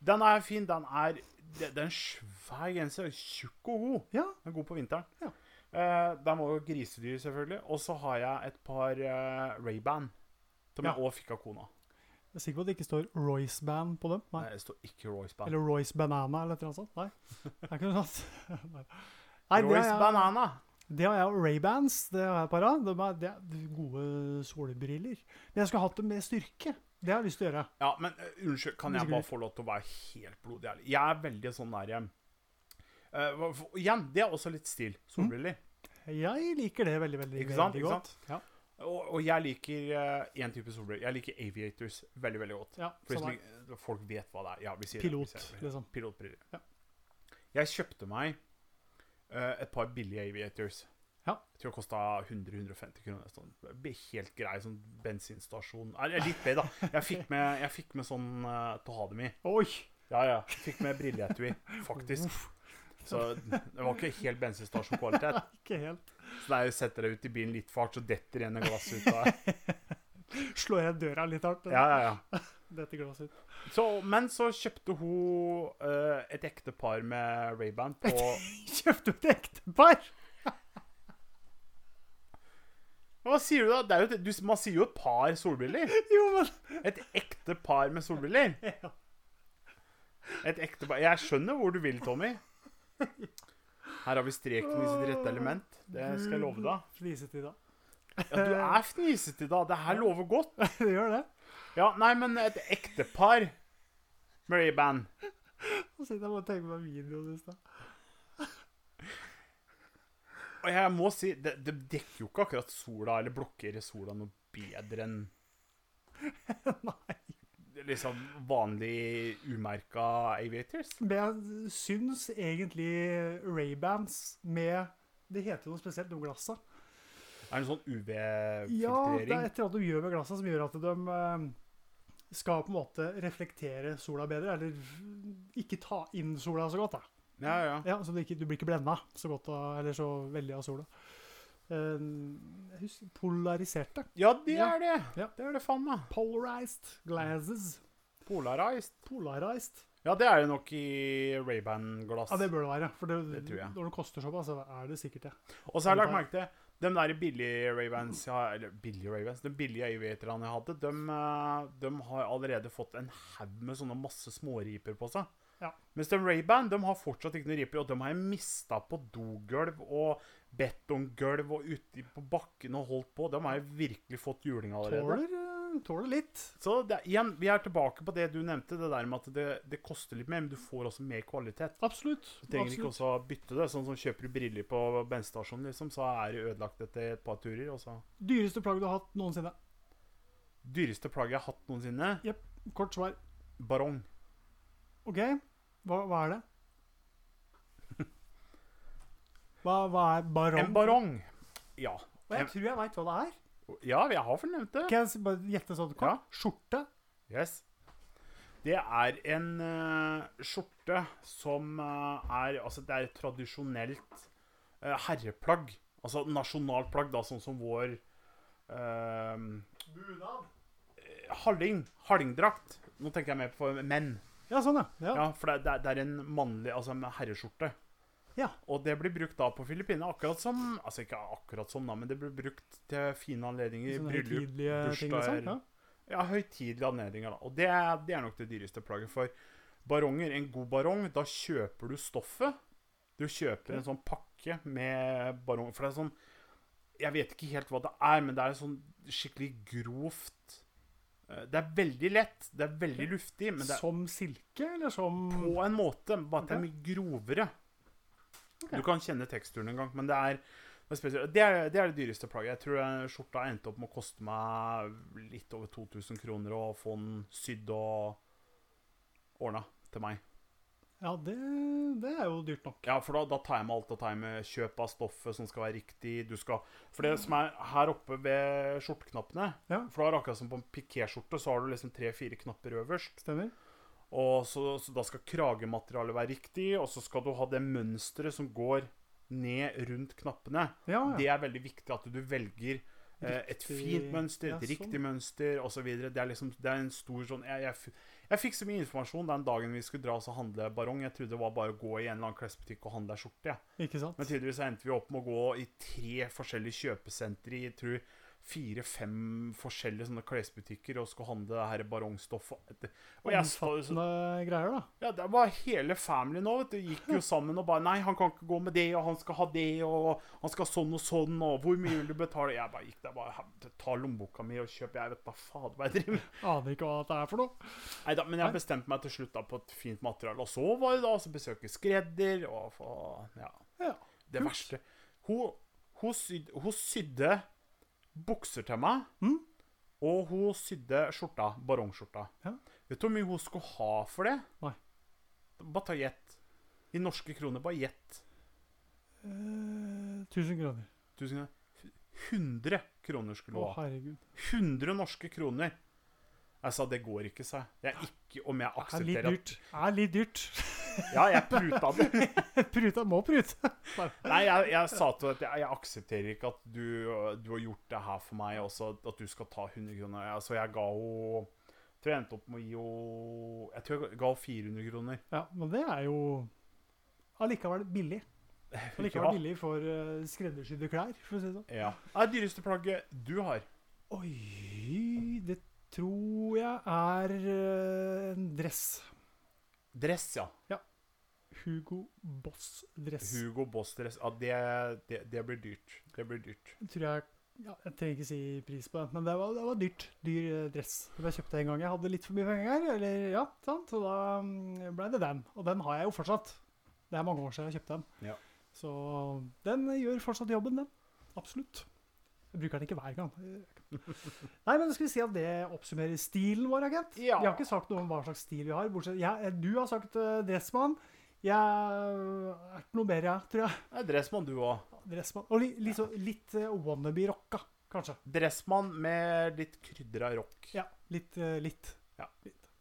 Speaker 2: Den er fin. Den er det, det er en svær genser. Tjukk og god.
Speaker 1: Ja.
Speaker 2: Den er god på vinteren.
Speaker 1: Ja.
Speaker 2: Eh, den var jo grisedyr, selvfølgelig. Og så har jeg et par eh, Ray-Ban som
Speaker 1: Ja.
Speaker 2: jeg òg fikk av kona.
Speaker 1: Jeg er sikker på at det ikke står Royce Band på dem. Nei.
Speaker 2: Nei, det står ikke Royce-Ban.
Speaker 1: Eller Royce Banana eller et eller annet sånt. Nei. Det er ikke noe sånt. Nei, Nei, det har
Speaker 2: Royce
Speaker 1: jeg-
Speaker 2: Banana.
Speaker 1: Det har jeg og Ray-Bans. Det har jeg et par av. De er, det er gode solbriller. Men jeg skulle hatt dem med styrke. Det har jeg lyst til å gjøre.
Speaker 2: Ja, men eh, unnskyld, kan jeg bare få lov til å være helt blodig ærlig? Jeg er veldig sånn der eh, eh, hva- for- Igjen, det er også litt stil. Solbriller.
Speaker 1: Jeg liker det veldig, veldig,
Speaker 2: Ikke sant,
Speaker 1: veldig
Speaker 2: ikke
Speaker 1: godt. Ja,
Speaker 2: Og, og jeg liker én type solbriller. Jeg liker aviators veldig, veldig godt.
Speaker 1: ja,
Speaker 2: For
Speaker 1: sånn
Speaker 2: som,
Speaker 1: er.
Speaker 2: ikke- folk vet hva det er. Ja, vi sier det, vi
Speaker 1: Pilot,
Speaker 2: sier det.
Speaker 1: liksom.
Speaker 2: Pilotbriller.
Speaker 1: Ja.
Speaker 2: Jeg kjøpte meg eh, et par billige Aviators.
Speaker 1: Ja.
Speaker 2: Jeg tror det kosta 100-150 kroner. Sånn. Be- Helt grei sånn bensinstasjon Nei, det er litt bedre, da. Jeg fikk med, jeg fikk med sånn eh, til å ha dem i.
Speaker 1: Oi!
Speaker 2: Ja, ja. Fikk med brilleetui, faktisk. Så det var ikke helt bensinstasjonkvalitet.
Speaker 1: Ikke helt.
Speaker 2: Så det er jo setter deg ut i bilen litt for hardt, så detter en glass ut av
Speaker 1: Slår jeg døra litt hardt?
Speaker 2: Ja, ja, ja.
Speaker 1: Dette glasset ut.
Speaker 2: Så, men så kjøpte hun eh, et ekte par med Ray-Ban på
Speaker 1: Kjøpte du et ektepar?
Speaker 2: Hva sier du da? Det er jo, et- du, man sier jo et par solbriller.
Speaker 1: Jo, men
Speaker 2: Et ekte par med solbriller.
Speaker 1: Ja.
Speaker 2: Et ekte par. Jeg skjønner hvor du vil, Tommy. Her har vi streken i sitt rette element. Det skal jeg love deg.
Speaker 1: Flisetid, da.
Speaker 2: Ja, du er fnisete, da. Det her lover godt.
Speaker 1: Det gjør det.
Speaker 2: Ja, nei, men et ekte par med Ray-Ban.
Speaker 1: Nå sitter jeg bare og tenker på videoen i stad.
Speaker 2: Og jeg må si, det, det dekker jo ikke akkurat sola, eller blokker sola noe bedre enn Liksom vanlig umerka aviators.
Speaker 1: Men jeg syns egentlig Ray-Bans med Det heter jo noe spesielt, de glassa.
Speaker 2: Er det en sånn
Speaker 1: Ja, det er
Speaker 2: UV-filtrering?
Speaker 1: et eller annet de gjør med glassa som gjør at de eh, skal på en måte reflektere sola bedre, eller ikke ta inn sola så godt. da.
Speaker 2: Ja, ja.
Speaker 1: Ja, så du, ikke, du blir ikke blenda så godt av, eller så veldig av sola. Eh, Jeg husker polariserte.
Speaker 2: ja, det
Speaker 1: Ja.
Speaker 2: er det.
Speaker 1: Ja.
Speaker 2: Det er det faen meg.
Speaker 1: Polarized glasses.
Speaker 2: Polarized.
Speaker 1: Polarized.
Speaker 2: Ja, det er det nok i Ray-Ban-glass.
Speaker 1: Ja, det bør det være. For det,
Speaker 2: Det tror jeg.
Speaker 1: når det koster såpass, så er det sikkert det.
Speaker 2: Og så har jeg lagt merke til de der billige Ray-Bans jeg har- Eller billige Ray-Bans De billige aviaterne jeg hadde, de, eh, de har allerede fått en haug med sånne masse småriper på seg.
Speaker 1: Ja.
Speaker 2: Mens de Ray-Ban de har fortsatt ikke noen riper, og de har jeg mista på dogulv og betonggulv og ute på bakken og holdt på. De har jeg virkelig fått juling allerede.
Speaker 1: Tåler, eh, tåler litt.
Speaker 2: Så det, er- igjen, vi er tilbake på det du nevnte, det der med at det, det koster litt mer, men du får også mer kvalitet.
Speaker 1: Absolutt.
Speaker 2: Du trenger
Speaker 1: absolutt.
Speaker 2: ikke også å bytte det. Sånn som kjøper du briller på bensinstasjonen, liksom, så er det ødelagt etter et par turer. Og så
Speaker 1: Dyreste plagg du har hatt noensinne?
Speaker 2: Dyreste plagget jeg har hatt noensinne?
Speaker 1: Kort svar.
Speaker 2: Barong.
Speaker 1: OK, hva, hva er det? Hva, hva er barong?
Speaker 2: En barong. Ja.
Speaker 1: Og jeg tror jeg veit hva det er.
Speaker 2: ja, jeg har fornevnt det.
Speaker 1: Kan jeg s- bare gjette sånn kort?
Speaker 2: Ja.
Speaker 1: Skjorte?
Speaker 2: Yes. Det er en eh, skjorte som eh, er Altså, det er et tradisjonelt eh, herreplagg. Altså nasjonalplagg, da, sånn som vår eh,
Speaker 1: Bunad?
Speaker 2: Halling. Hallingdrakt. Nå tenker jeg mer på menn.
Speaker 1: Ja, sånn, ja. ja.
Speaker 2: Ja, For det, det, det er en mannlig Altså en herreskjorte.
Speaker 1: Ja.
Speaker 2: Og det blir brukt da på Filippinene, akkurat som Altså ikke akkurat som, da, men det blir brukt til fine anledninger.
Speaker 1: Sånne
Speaker 2: Bryllup,
Speaker 1: høytidelige ting,
Speaker 2: bursdager.
Speaker 1: liksom. Ja.
Speaker 2: Ja, høytidelige anledninger, da. Og det, er- det er nok det dyreste plagget. For baronger, en god barong, da kjøper du stoffet. Du kjøper en sånn pakke med barong. For det er sånn Jeg vet ikke helt hva det er, men det er sånn skikkelig grovt eh, Det er veldig lett, det er veldig luftig, men det er
Speaker 1: Som silke, eller som
Speaker 2: på en måte, bare at det er mye grovere.
Speaker 1: Ok.
Speaker 2: Du kan kjenne teksturen en gang, men det er det er, spesielt. det, er, det er det dyreste plagget. Jeg tror den skjorta endte opp med å koste meg litt over 2000 kroner å få den sydd og ordna til meg.
Speaker 1: Ja, det, det er jo dyrt nok.
Speaker 2: Ja, for da, da tar jeg med alt. Da tar jeg med kjøp av stoffet som skal være riktig. Du skal For det som er her oppe ved skjorteknappene
Speaker 1: Mm. Ja.
Speaker 2: For da er det akkurat som på en pikéskjorte, så har du liksom tre-fire knapper øverst.
Speaker 1: Stemmer?
Speaker 2: Og så, så da skal kragematerialet være riktig, og så skal du ha det mønsteret som går ned rundt knappene.
Speaker 1: Ja,
Speaker 2: Det
Speaker 1: ja.
Speaker 2: er veldig viktig at du velger eh, et
Speaker 1: Riktig-
Speaker 2: fint mønster,
Speaker 1: ja,
Speaker 2: et riktig
Speaker 1: sånn.
Speaker 2: mønster osv. Det, er liksom, det er en stor sånn Jeg, jeg, f- jeg fikk så mye informasjon den dagen vi skulle dra oss og handle barong. Jeg trodde det var bare å gå i en eller annen klesbutikk og handle ei skjorte. jeg.
Speaker 1: Ikke sant?
Speaker 2: Men tydeligvis så endte vi opp med å gå i tre forskjellige kjøpesentre i jeg tror fire-fem forskjellige sånne klesbutikker og skulle handle her barongstoff. Og, og jeg sto jo sånn
Speaker 1: Omfattende greier, da.
Speaker 2: ja, det var hele familien nå, vet du. Gikk jo sammen og bare Nei, han kan ikke gå med det, og han skal ha det, og han skal ha sånn og sånn, og hvor mye vil du betale? Jeg bare gikk der bare "Helvete, Ta lommeboka mi og kjøp, jeg vet da fader hva jeg driver med.
Speaker 1: Aner ikke hva det er for noe.
Speaker 2: Nei da, men jeg bestemte meg til slutt da på et fint materiale, og så var det da altså besøke skredder, og få Ja.
Speaker 1: Ja.
Speaker 2: Det
Speaker 1: Kult.
Speaker 2: verste Hun, hun, syd, hun sydde bukser til meg,
Speaker 1: Mhm.
Speaker 2: og hun sydde skjorta, barongskjorta.
Speaker 1: Ja.
Speaker 2: Vet du hvor mye hun skulle ha for det?
Speaker 1: Nei.
Speaker 2: Bare ta gjett. I norske kroner, bare gjett.
Speaker 1: Eh, 1000 kroner.
Speaker 2: Tusen kroner. 100 kroner skulle
Speaker 1: Å,
Speaker 2: hun ha.
Speaker 1: herregud.
Speaker 2: 100 norske kroner. Jeg sa det går ikke, sa jeg. Det er ikke om
Speaker 1: Det
Speaker 2: jeg
Speaker 1: er litt
Speaker 2: aksepterer at
Speaker 1: dyrt. Det er litt dyrt.
Speaker 2: Ja, jeg pruta det.
Speaker 1: Pruta må prute.
Speaker 2: Nei, jeg, jeg sa til henne at jeg, jeg aksepterer ikke at du, du har gjort det her for meg også, at du skal ta 100 kroner. Ja, Så jeg ga henne Jeg tror jeg endte opp med å gi henne Jeg tror jeg ga henne 400 kroner.
Speaker 1: Ja, men det er jo allikevel billig. Allikevel
Speaker 2: Ja.
Speaker 1: billig for eh, skreddersydde klær, for å si det sånn.
Speaker 2: Ja. Hva er det dyreste plagget du har?
Speaker 1: Oi, det tror jeg er eh, en dress.
Speaker 2: Dress, ja.
Speaker 1: Hugo Boss-dress.
Speaker 2: Hugo Boss-dress. Ja, det, det, det blir dyrt. Det blir dyrt.
Speaker 1: tror jeg ja, Jeg trenger ikke si pris på det, men det var, det var dyrt. Dyr eh, dress. Som jeg kjøpte en gang. Jeg hadde litt for mye penger, eller ja, sant? så da mm, ble det den. Og den har jeg jo fortsatt. Det er mange år siden jeg kjøpte den.
Speaker 2: Ja.
Speaker 1: Så den gjør fortsatt jobben, den. Absolutt. Jeg bruker den ikke hver gang. Nei, men skal vi si at det oppsummerer stilen vår, agent?
Speaker 2: Ja.
Speaker 1: Vi har ikke sagt noe om hva slags stil vi har, bortsett jeg, Du har sagt eh, dressmann. Jeg er ikke noe bedre, jeg, tror jeg.
Speaker 2: Det er dressmann, du òg.
Speaker 1: Dressmann. Og li, litt, så- litt eh, wannabe-rocka, kanskje.
Speaker 2: Dressmann med litt krydder av rock.
Speaker 1: Ja, litt. eh, litt.
Speaker 2: Ja.
Speaker 1: litt.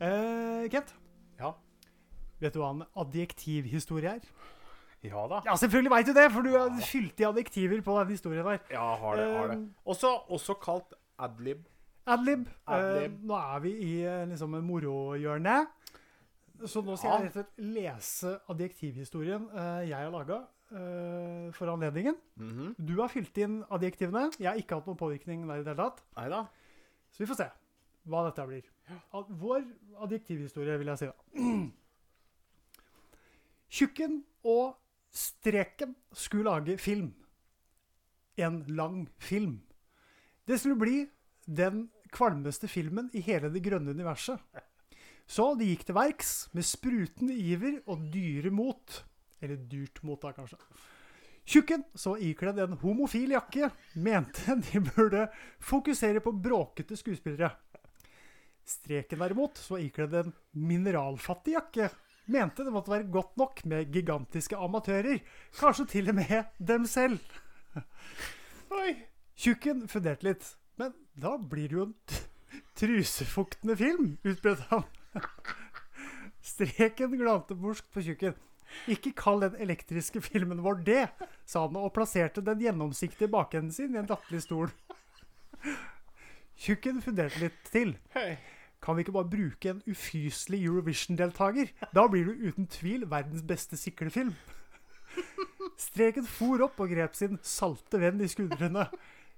Speaker 1: Eh, Kent,
Speaker 2: Ja,
Speaker 1: vet du hva en adjektivhistorie er?
Speaker 2: ja da.
Speaker 1: Ja, selvfølgelig veit du det, for du er fylt i adjektiver på den historien der.
Speaker 2: Ja, har det. har det.
Speaker 1: Um,
Speaker 2: Også, også kalt adlib.
Speaker 1: Adlib. Eh,
Speaker 2: Adlib.
Speaker 1: nå er vi i eh, liksom morohjørnet. Så nå skal
Speaker 2: Ja.
Speaker 1: jeg rett og slett lese adjektivhistorien eh, jeg har laga eh, for anledningen.
Speaker 2: Mhm.
Speaker 1: Du har fylt inn adjektivene. Jeg har ikke hatt noen påvirkning der i det hele tatt.
Speaker 2: Nei da.
Speaker 1: Så vi får se hva dette blir. Ad vår adjektivhistorie, vil jeg si, da. Tjukken og Streken skulle lage film. En lang film. Det skulle bli den kvalmeste filmen i hele det grønne universet. Så de gikk til verks med sprutende iver og dyre mot. Eller dyrt mot, da, kanskje. Tjukken, så ikledd en homofil jakke, mente de burde fokusere på bråkete skuespillere. Streken derimot, så ikledd en mineralfattig jakke, mente det måtte være godt nok med gigantiske amatører, kanskje til og med dem selv.
Speaker 2: Oi.
Speaker 1: Tjukken funderte litt, men da blir det jo en t- trusefuktende film, utbrøt han. Streken glante borsk på tjukken. Ikke kall den elektriske filmen vår det, sa han og plasserte den gjennomsiktige bakenden sin i en latterlig stol. Tjukken funderte litt til.
Speaker 2: Hei.
Speaker 1: Kan vi ikke bare bruke en ufyselig Eurovision-deltaker? Da blir du uten tvil verdens beste siklefilm. Streken for opp og grep sin salte venn i skuldrene.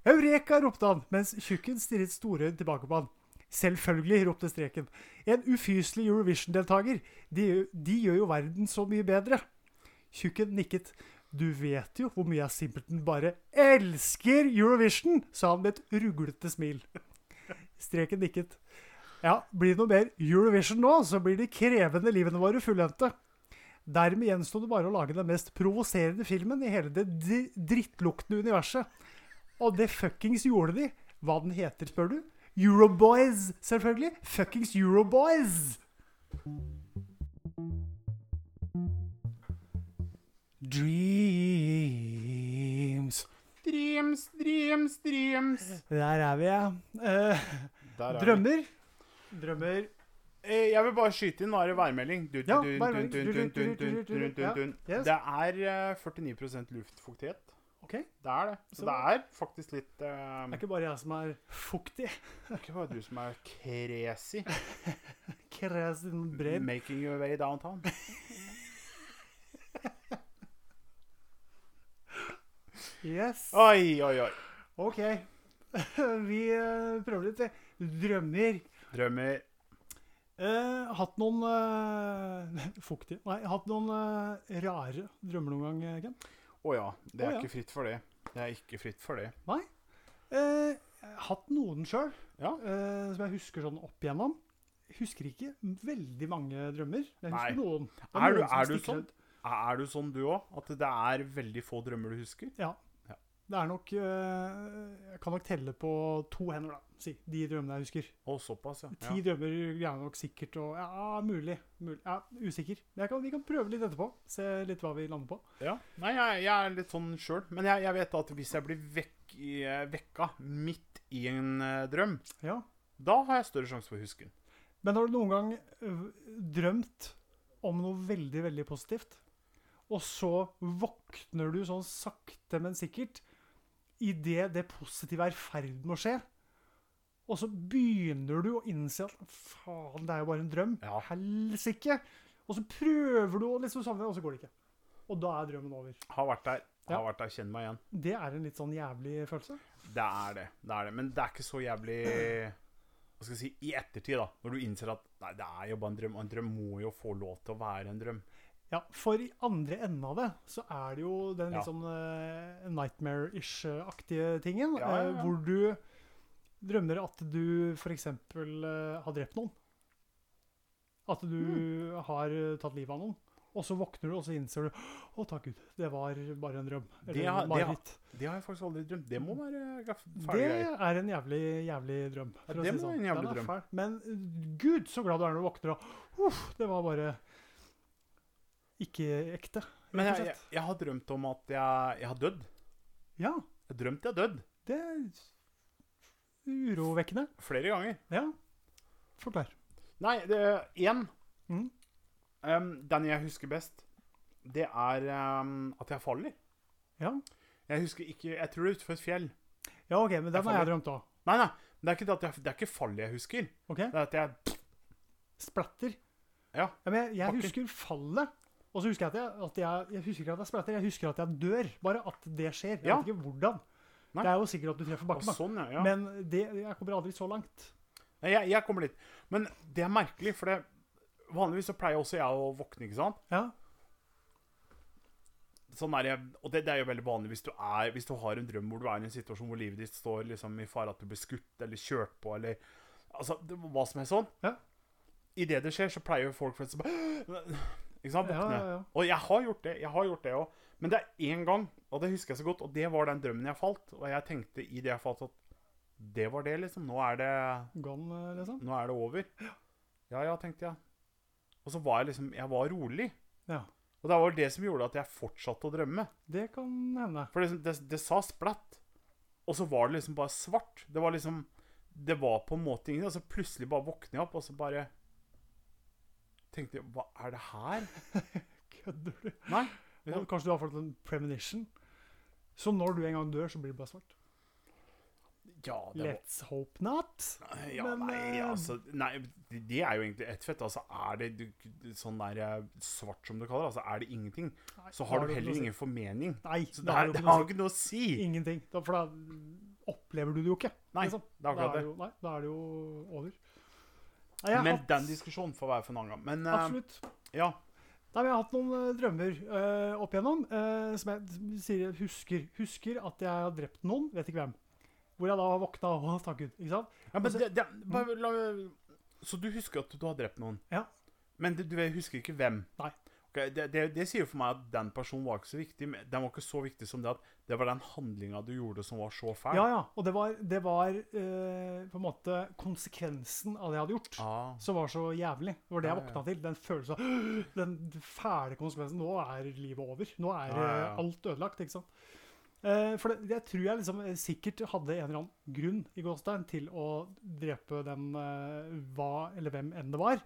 Speaker 1: Eureka! ropte han, mens tjukken stirret storøyd tilbake på han. Selvfølgelig, ropte Streken. En ufyselig Eurovision-deltaker. De, gjør- de gjør jo verden så mye bedre. Tjukken nikket. Du vet jo hvor mye jeg simpelthen bare elsker Eurovision, sa han med et ruglete smil. Streken nikket. Ja, blir det noe mer Eurovision nå, så blir de krevende livene våre fullendte. Dermed gjenstod det bare å lage den mest provoserende filmen i hele det dri- drittluktende universet. Og det fuckings gjorde de. Hva den heter, spør du? Euroboys, selvfølgelig. Fuckings Euroboys! Dreams.
Speaker 2: Dreams, dreams, dreams.
Speaker 1: Der er vi, ja. Eh, drømmer. Drømmer.
Speaker 2: Eh, Jeg vil bare skyte inn, nå er det værmelding. Dun,
Speaker 1: Ja,
Speaker 2: dun,
Speaker 1: værmelding.
Speaker 2: dun, dun, dun, dun, dun, dun, dun, dun.
Speaker 1: Ja, yes.
Speaker 2: Det er eh, 49 luftfuktighet.
Speaker 1: Ok. Det
Speaker 2: Det er det.
Speaker 1: Så-
Speaker 2: Så det er faktisk litt eh,
Speaker 1: er ikke bare jeg som er fuktig.
Speaker 2: Ikke bare du som er crazy
Speaker 1: Kresin brev.
Speaker 2: making your way downtown.
Speaker 1: Yes.
Speaker 2: Oi, oi, oi.
Speaker 1: OK. Vi eh, prøver litt. eh, Drømmer.
Speaker 2: Drømmer.
Speaker 1: Eh, hatt noen eh, fuktig Nei, hatt noen eh, rare drømmer noen gang, eh, Ken?
Speaker 2: Å ja. Det
Speaker 1: Å
Speaker 2: er
Speaker 1: ja.
Speaker 2: ikke fritt for det. Det er ikke fritt for det.
Speaker 1: Eh, hatt noen sjøl,
Speaker 2: Ja.
Speaker 1: eh, som jeg husker sånn opp igjennom. Husker ikke veldig mange drømmer. men Jeg husker
Speaker 2: Nei.
Speaker 1: noen. Det
Speaker 2: Er du-
Speaker 1: noen som
Speaker 2: er du
Speaker 1: stikker
Speaker 2: sånn?
Speaker 1: ut.
Speaker 2: Er du sånn du òg? At det er veldig få drømmer du husker?
Speaker 1: Ja.
Speaker 2: Ja.
Speaker 1: Det er nok eh, Jeg kan nok telle på to hender, da. Si, de drømmene jeg husker.
Speaker 2: Å, såpass, ja.
Speaker 1: Ti
Speaker 2: ja.
Speaker 1: drømmer greier jeg nok sikkert og Ja, mulig. mulig ja, usikker. Men jeg kan, vi kan prøve litt etterpå. Se litt hva vi lander på.
Speaker 2: ja. Nei, jeg, jeg er litt sånn sjøl. Men jeg, jeg vet at hvis jeg blir vekk i, vekka midt i en eh, drøm,
Speaker 1: Ja.
Speaker 2: da har jeg større sjanse for å huske den.
Speaker 1: Men har du noen gang øh, drømt om noe veldig, veldig positivt, og så våkner du sånn sakte, men sikkert, i det det positive er i ferd med å skje, og så begynner du å innse at faen, det er jo bare en drøm.
Speaker 2: Ja.
Speaker 1: Helsike! Og så prøver du å liksom savne, og så går det ikke. Og da er drømmen over.
Speaker 2: Har vært der. Har
Speaker 1: Ja.
Speaker 2: vært der. Kjenn meg igjen.
Speaker 1: Det er en litt sånn jævlig følelse.
Speaker 2: Det er det. det er det. Men det er ikke så jævlig Hva skal jeg si I ettertid, da. Når du innser at nei, det er jo bare en drøm. Og en drøm må jo få lov til å være en drøm.
Speaker 1: Ja, for i andre enden av det så er det jo den
Speaker 2: Ja.
Speaker 1: litt sånn eh, nightmare-ish-aktige tingen,
Speaker 2: Ja, ja,
Speaker 1: eh,
Speaker 2: ja.
Speaker 1: hvor du drømmer at du f.eks. Uh, har drept noen. At du
Speaker 2: Mm.
Speaker 1: har eh, tatt livet av noen. Og så våkner du, og så innser du Å, takk Gud, det var bare en drøm.
Speaker 2: Det
Speaker 1: Eller
Speaker 2: har-
Speaker 1: en
Speaker 2: det har-
Speaker 1: mareritt.
Speaker 2: Det har jeg faktisk aldri drømt. Det må være gaff-
Speaker 1: Det
Speaker 2: fæle greier.
Speaker 1: er en jævlig, jævlig drøm.
Speaker 2: Ja,
Speaker 1: for å
Speaker 2: det
Speaker 1: si
Speaker 2: må
Speaker 1: sånn.
Speaker 2: være en jævlig
Speaker 1: Den er
Speaker 2: drøm.
Speaker 1: fæl. Men uh, gud, så glad du er når du våkner og Uff, det var bare ikke ekte. rett
Speaker 2: Men
Speaker 1: og
Speaker 2: jeg, jeg,
Speaker 1: slett.
Speaker 2: jeg har drømt om at jeg, jeg har dødd.
Speaker 1: Ja.
Speaker 2: Jeg har drømt jeg har dødd.
Speaker 1: Det er urovekkende.
Speaker 2: Flere ganger.
Speaker 1: Ja. Forklar.
Speaker 2: Nei, det én
Speaker 1: Mhm.
Speaker 2: Em, Den jeg husker best, det er em, at jeg faller.
Speaker 1: Ja.
Speaker 2: Jeg husker ikke Jeg tror det er utenfor et fjell.
Speaker 1: ja, OK, men den
Speaker 2: Jeg
Speaker 1: har
Speaker 2: faller.
Speaker 1: jeg drømt òg.
Speaker 2: Nei, nei. Det er ikke, det at jeg, det er ikke fallet jeg husker.
Speaker 1: OK?
Speaker 2: Det er at jeg
Speaker 1: Splatter.
Speaker 2: Ja.
Speaker 1: men jeg, jeg
Speaker 2: Bakken.
Speaker 1: husker fallet. Og så husker jeg at jeg, at jeg Jeg husker ikke at jeg splatter, jeg husker at jeg dør. Bare at det skjer. Jeg
Speaker 2: Ja.
Speaker 1: vet ikke hvordan.
Speaker 2: Nei.
Speaker 1: Det er jo sikkert at du treffer
Speaker 2: Å,
Speaker 1: bakken, da.
Speaker 2: Sånn, ja. ja.
Speaker 1: Men det, jeg kommer aldri så langt.
Speaker 2: Nei, jeg, jeg kommer dit. Men det er merkelig, for det, vanligvis så pleier også jeg å våkne, ikke sant?
Speaker 1: Ja.
Speaker 2: Sånn er jeg, og det, det er jo veldig vanlig hvis du, er, hvis du har en drøm hvor du er i en situasjon hvor livet ditt står liksom i fare at du blir skutt eller kjørt på, eller altså, det, hva som er sånn.
Speaker 1: Ja.
Speaker 2: I det det skjer, så pleier jo folk flest å bare Ikke sant?
Speaker 1: Ja,
Speaker 2: Våkne.
Speaker 1: ja, ja.
Speaker 2: Og jeg har gjort det. jeg har gjort det også. Men det er én gang, og det husker jeg så godt, og det var den drømmen jeg falt. Og jeg tenkte i det jeg falt, at det var det, liksom. Nå er det
Speaker 1: Gone, eh, liksom.
Speaker 2: nå er det over. Ja, ja, tenkte jeg. Og så var jeg liksom Jeg var rolig.
Speaker 1: Ja.
Speaker 2: Og det var det som gjorde at jeg fortsatte å drømme.
Speaker 1: Det kan hende.
Speaker 2: For det, liksom, det, det sa splatt. Og så var det liksom bare svart. Det var liksom Det var på en måte ingen Og så plutselig bare våkner jeg opp, og så bare Tenkte jeg Hva er det her?
Speaker 1: Kødder du?
Speaker 2: Nei.
Speaker 1: Og Kanskje du har fått en premonition? Så når du en gang dør, så blir det bare svart?
Speaker 2: Ja, det var
Speaker 1: Let's hope not.
Speaker 2: ja,
Speaker 1: Men,
Speaker 2: nei,
Speaker 1: eh,
Speaker 2: altså Nei, det er jo egentlig ett fett. Altså, er det du- sånn der eh, svart som du kaller det, altså er det ingenting,
Speaker 1: Nei,
Speaker 2: så har du
Speaker 1: det
Speaker 2: heller
Speaker 1: noe å si?
Speaker 2: ingen formening.
Speaker 1: Nei,
Speaker 2: Så
Speaker 1: det
Speaker 2: det,
Speaker 1: har jo
Speaker 2: er, det
Speaker 1: ikke noe
Speaker 2: har
Speaker 1: å
Speaker 2: ikke noe å si.
Speaker 1: si. Ingenting. Da, for da opplever du det jo ikke.
Speaker 2: Nei,
Speaker 1: liksom.
Speaker 2: det er akkurat det.
Speaker 1: jo, nei, da er det jo over. Nei, jeg har
Speaker 2: Men
Speaker 1: hatt,
Speaker 2: den diskusjonen får være for en annen gang. Men eh,
Speaker 1: Absolutt.
Speaker 2: ja,
Speaker 1: Nei, men jeg har hatt noen eh, drømmer eh, opp igjennom eh, som jeg sier jeg husker. Husker at jeg har drept noen, vet ikke hvem. Hvor jeg da har våkna og takk Gud. Ikke sant?
Speaker 2: ja men
Speaker 1: Altså-
Speaker 2: det, det, bare, la, Så du husker at du har drept noen?
Speaker 1: Ja.
Speaker 2: Men du, du husker ikke hvem?
Speaker 1: Nei.
Speaker 2: Ok, det, det, det sier jo for meg at den personen var ikke så viktig. men Den var ikke så viktig som det at det var den handlinga du gjorde som var så fæl.
Speaker 1: Ja, ja. Og det var, det var eh, på en måte konsekvensen av det jeg hadde gjort.
Speaker 2: Ah.
Speaker 1: Som var så jævlig. Det var det jeg
Speaker 2: Ja, ja.
Speaker 1: våkna til. Den følelsen av Den fæle konsekvensen. Nå er livet over. Nå er
Speaker 2: Ja, ja, ja.
Speaker 1: eh, alt ødelagt. ikke sant? Eh, For det, jeg tror jeg liksom eh, sikkert hadde en eller annen grunn i Gåstein til å drepe den eh, hva eller hvem enn det var.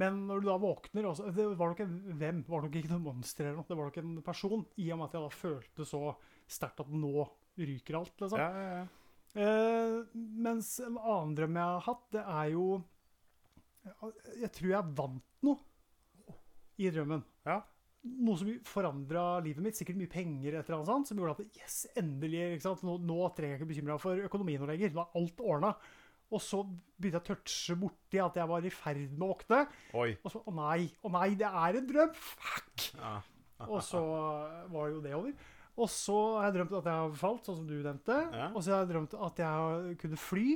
Speaker 1: Men når du da våkner også, Det var nok en hvem, var nok ikke noe monster eller noe. Det var nok en person, i og med at jeg da følte så sterkt at nå ryker alt, liksom.
Speaker 2: Ja, ja, ja.
Speaker 1: Eh, mens en annen drøm jeg har hatt, det er jo Jeg tror jeg vant noe i drømmen.
Speaker 2: Ja.
Speaker 1: noe som forandra livet mitt, sikkert mye penger, et eller annet sånt, som gjorde at yes, endelig, ikke sant? Nå, nå trenger jeg ikke bekymre meg for økonomien noe lenger. Nå er alt ordna. Og så begynte jeg å touche borti at jeg var i ferd med å våkne.
Speaker 2: Oi.
Speaker 1: Og så Å nei, å nei, det er en drøm! Fuck!
Speaker 2: Ja.
Speaker 1: Og så var jo det over. Og så har jeg drømt at jeg har falt, sånn som du nevnte.
Speaker 2: Ja.
Speaker 1: Og så har jeg drømt at jeg kunne fly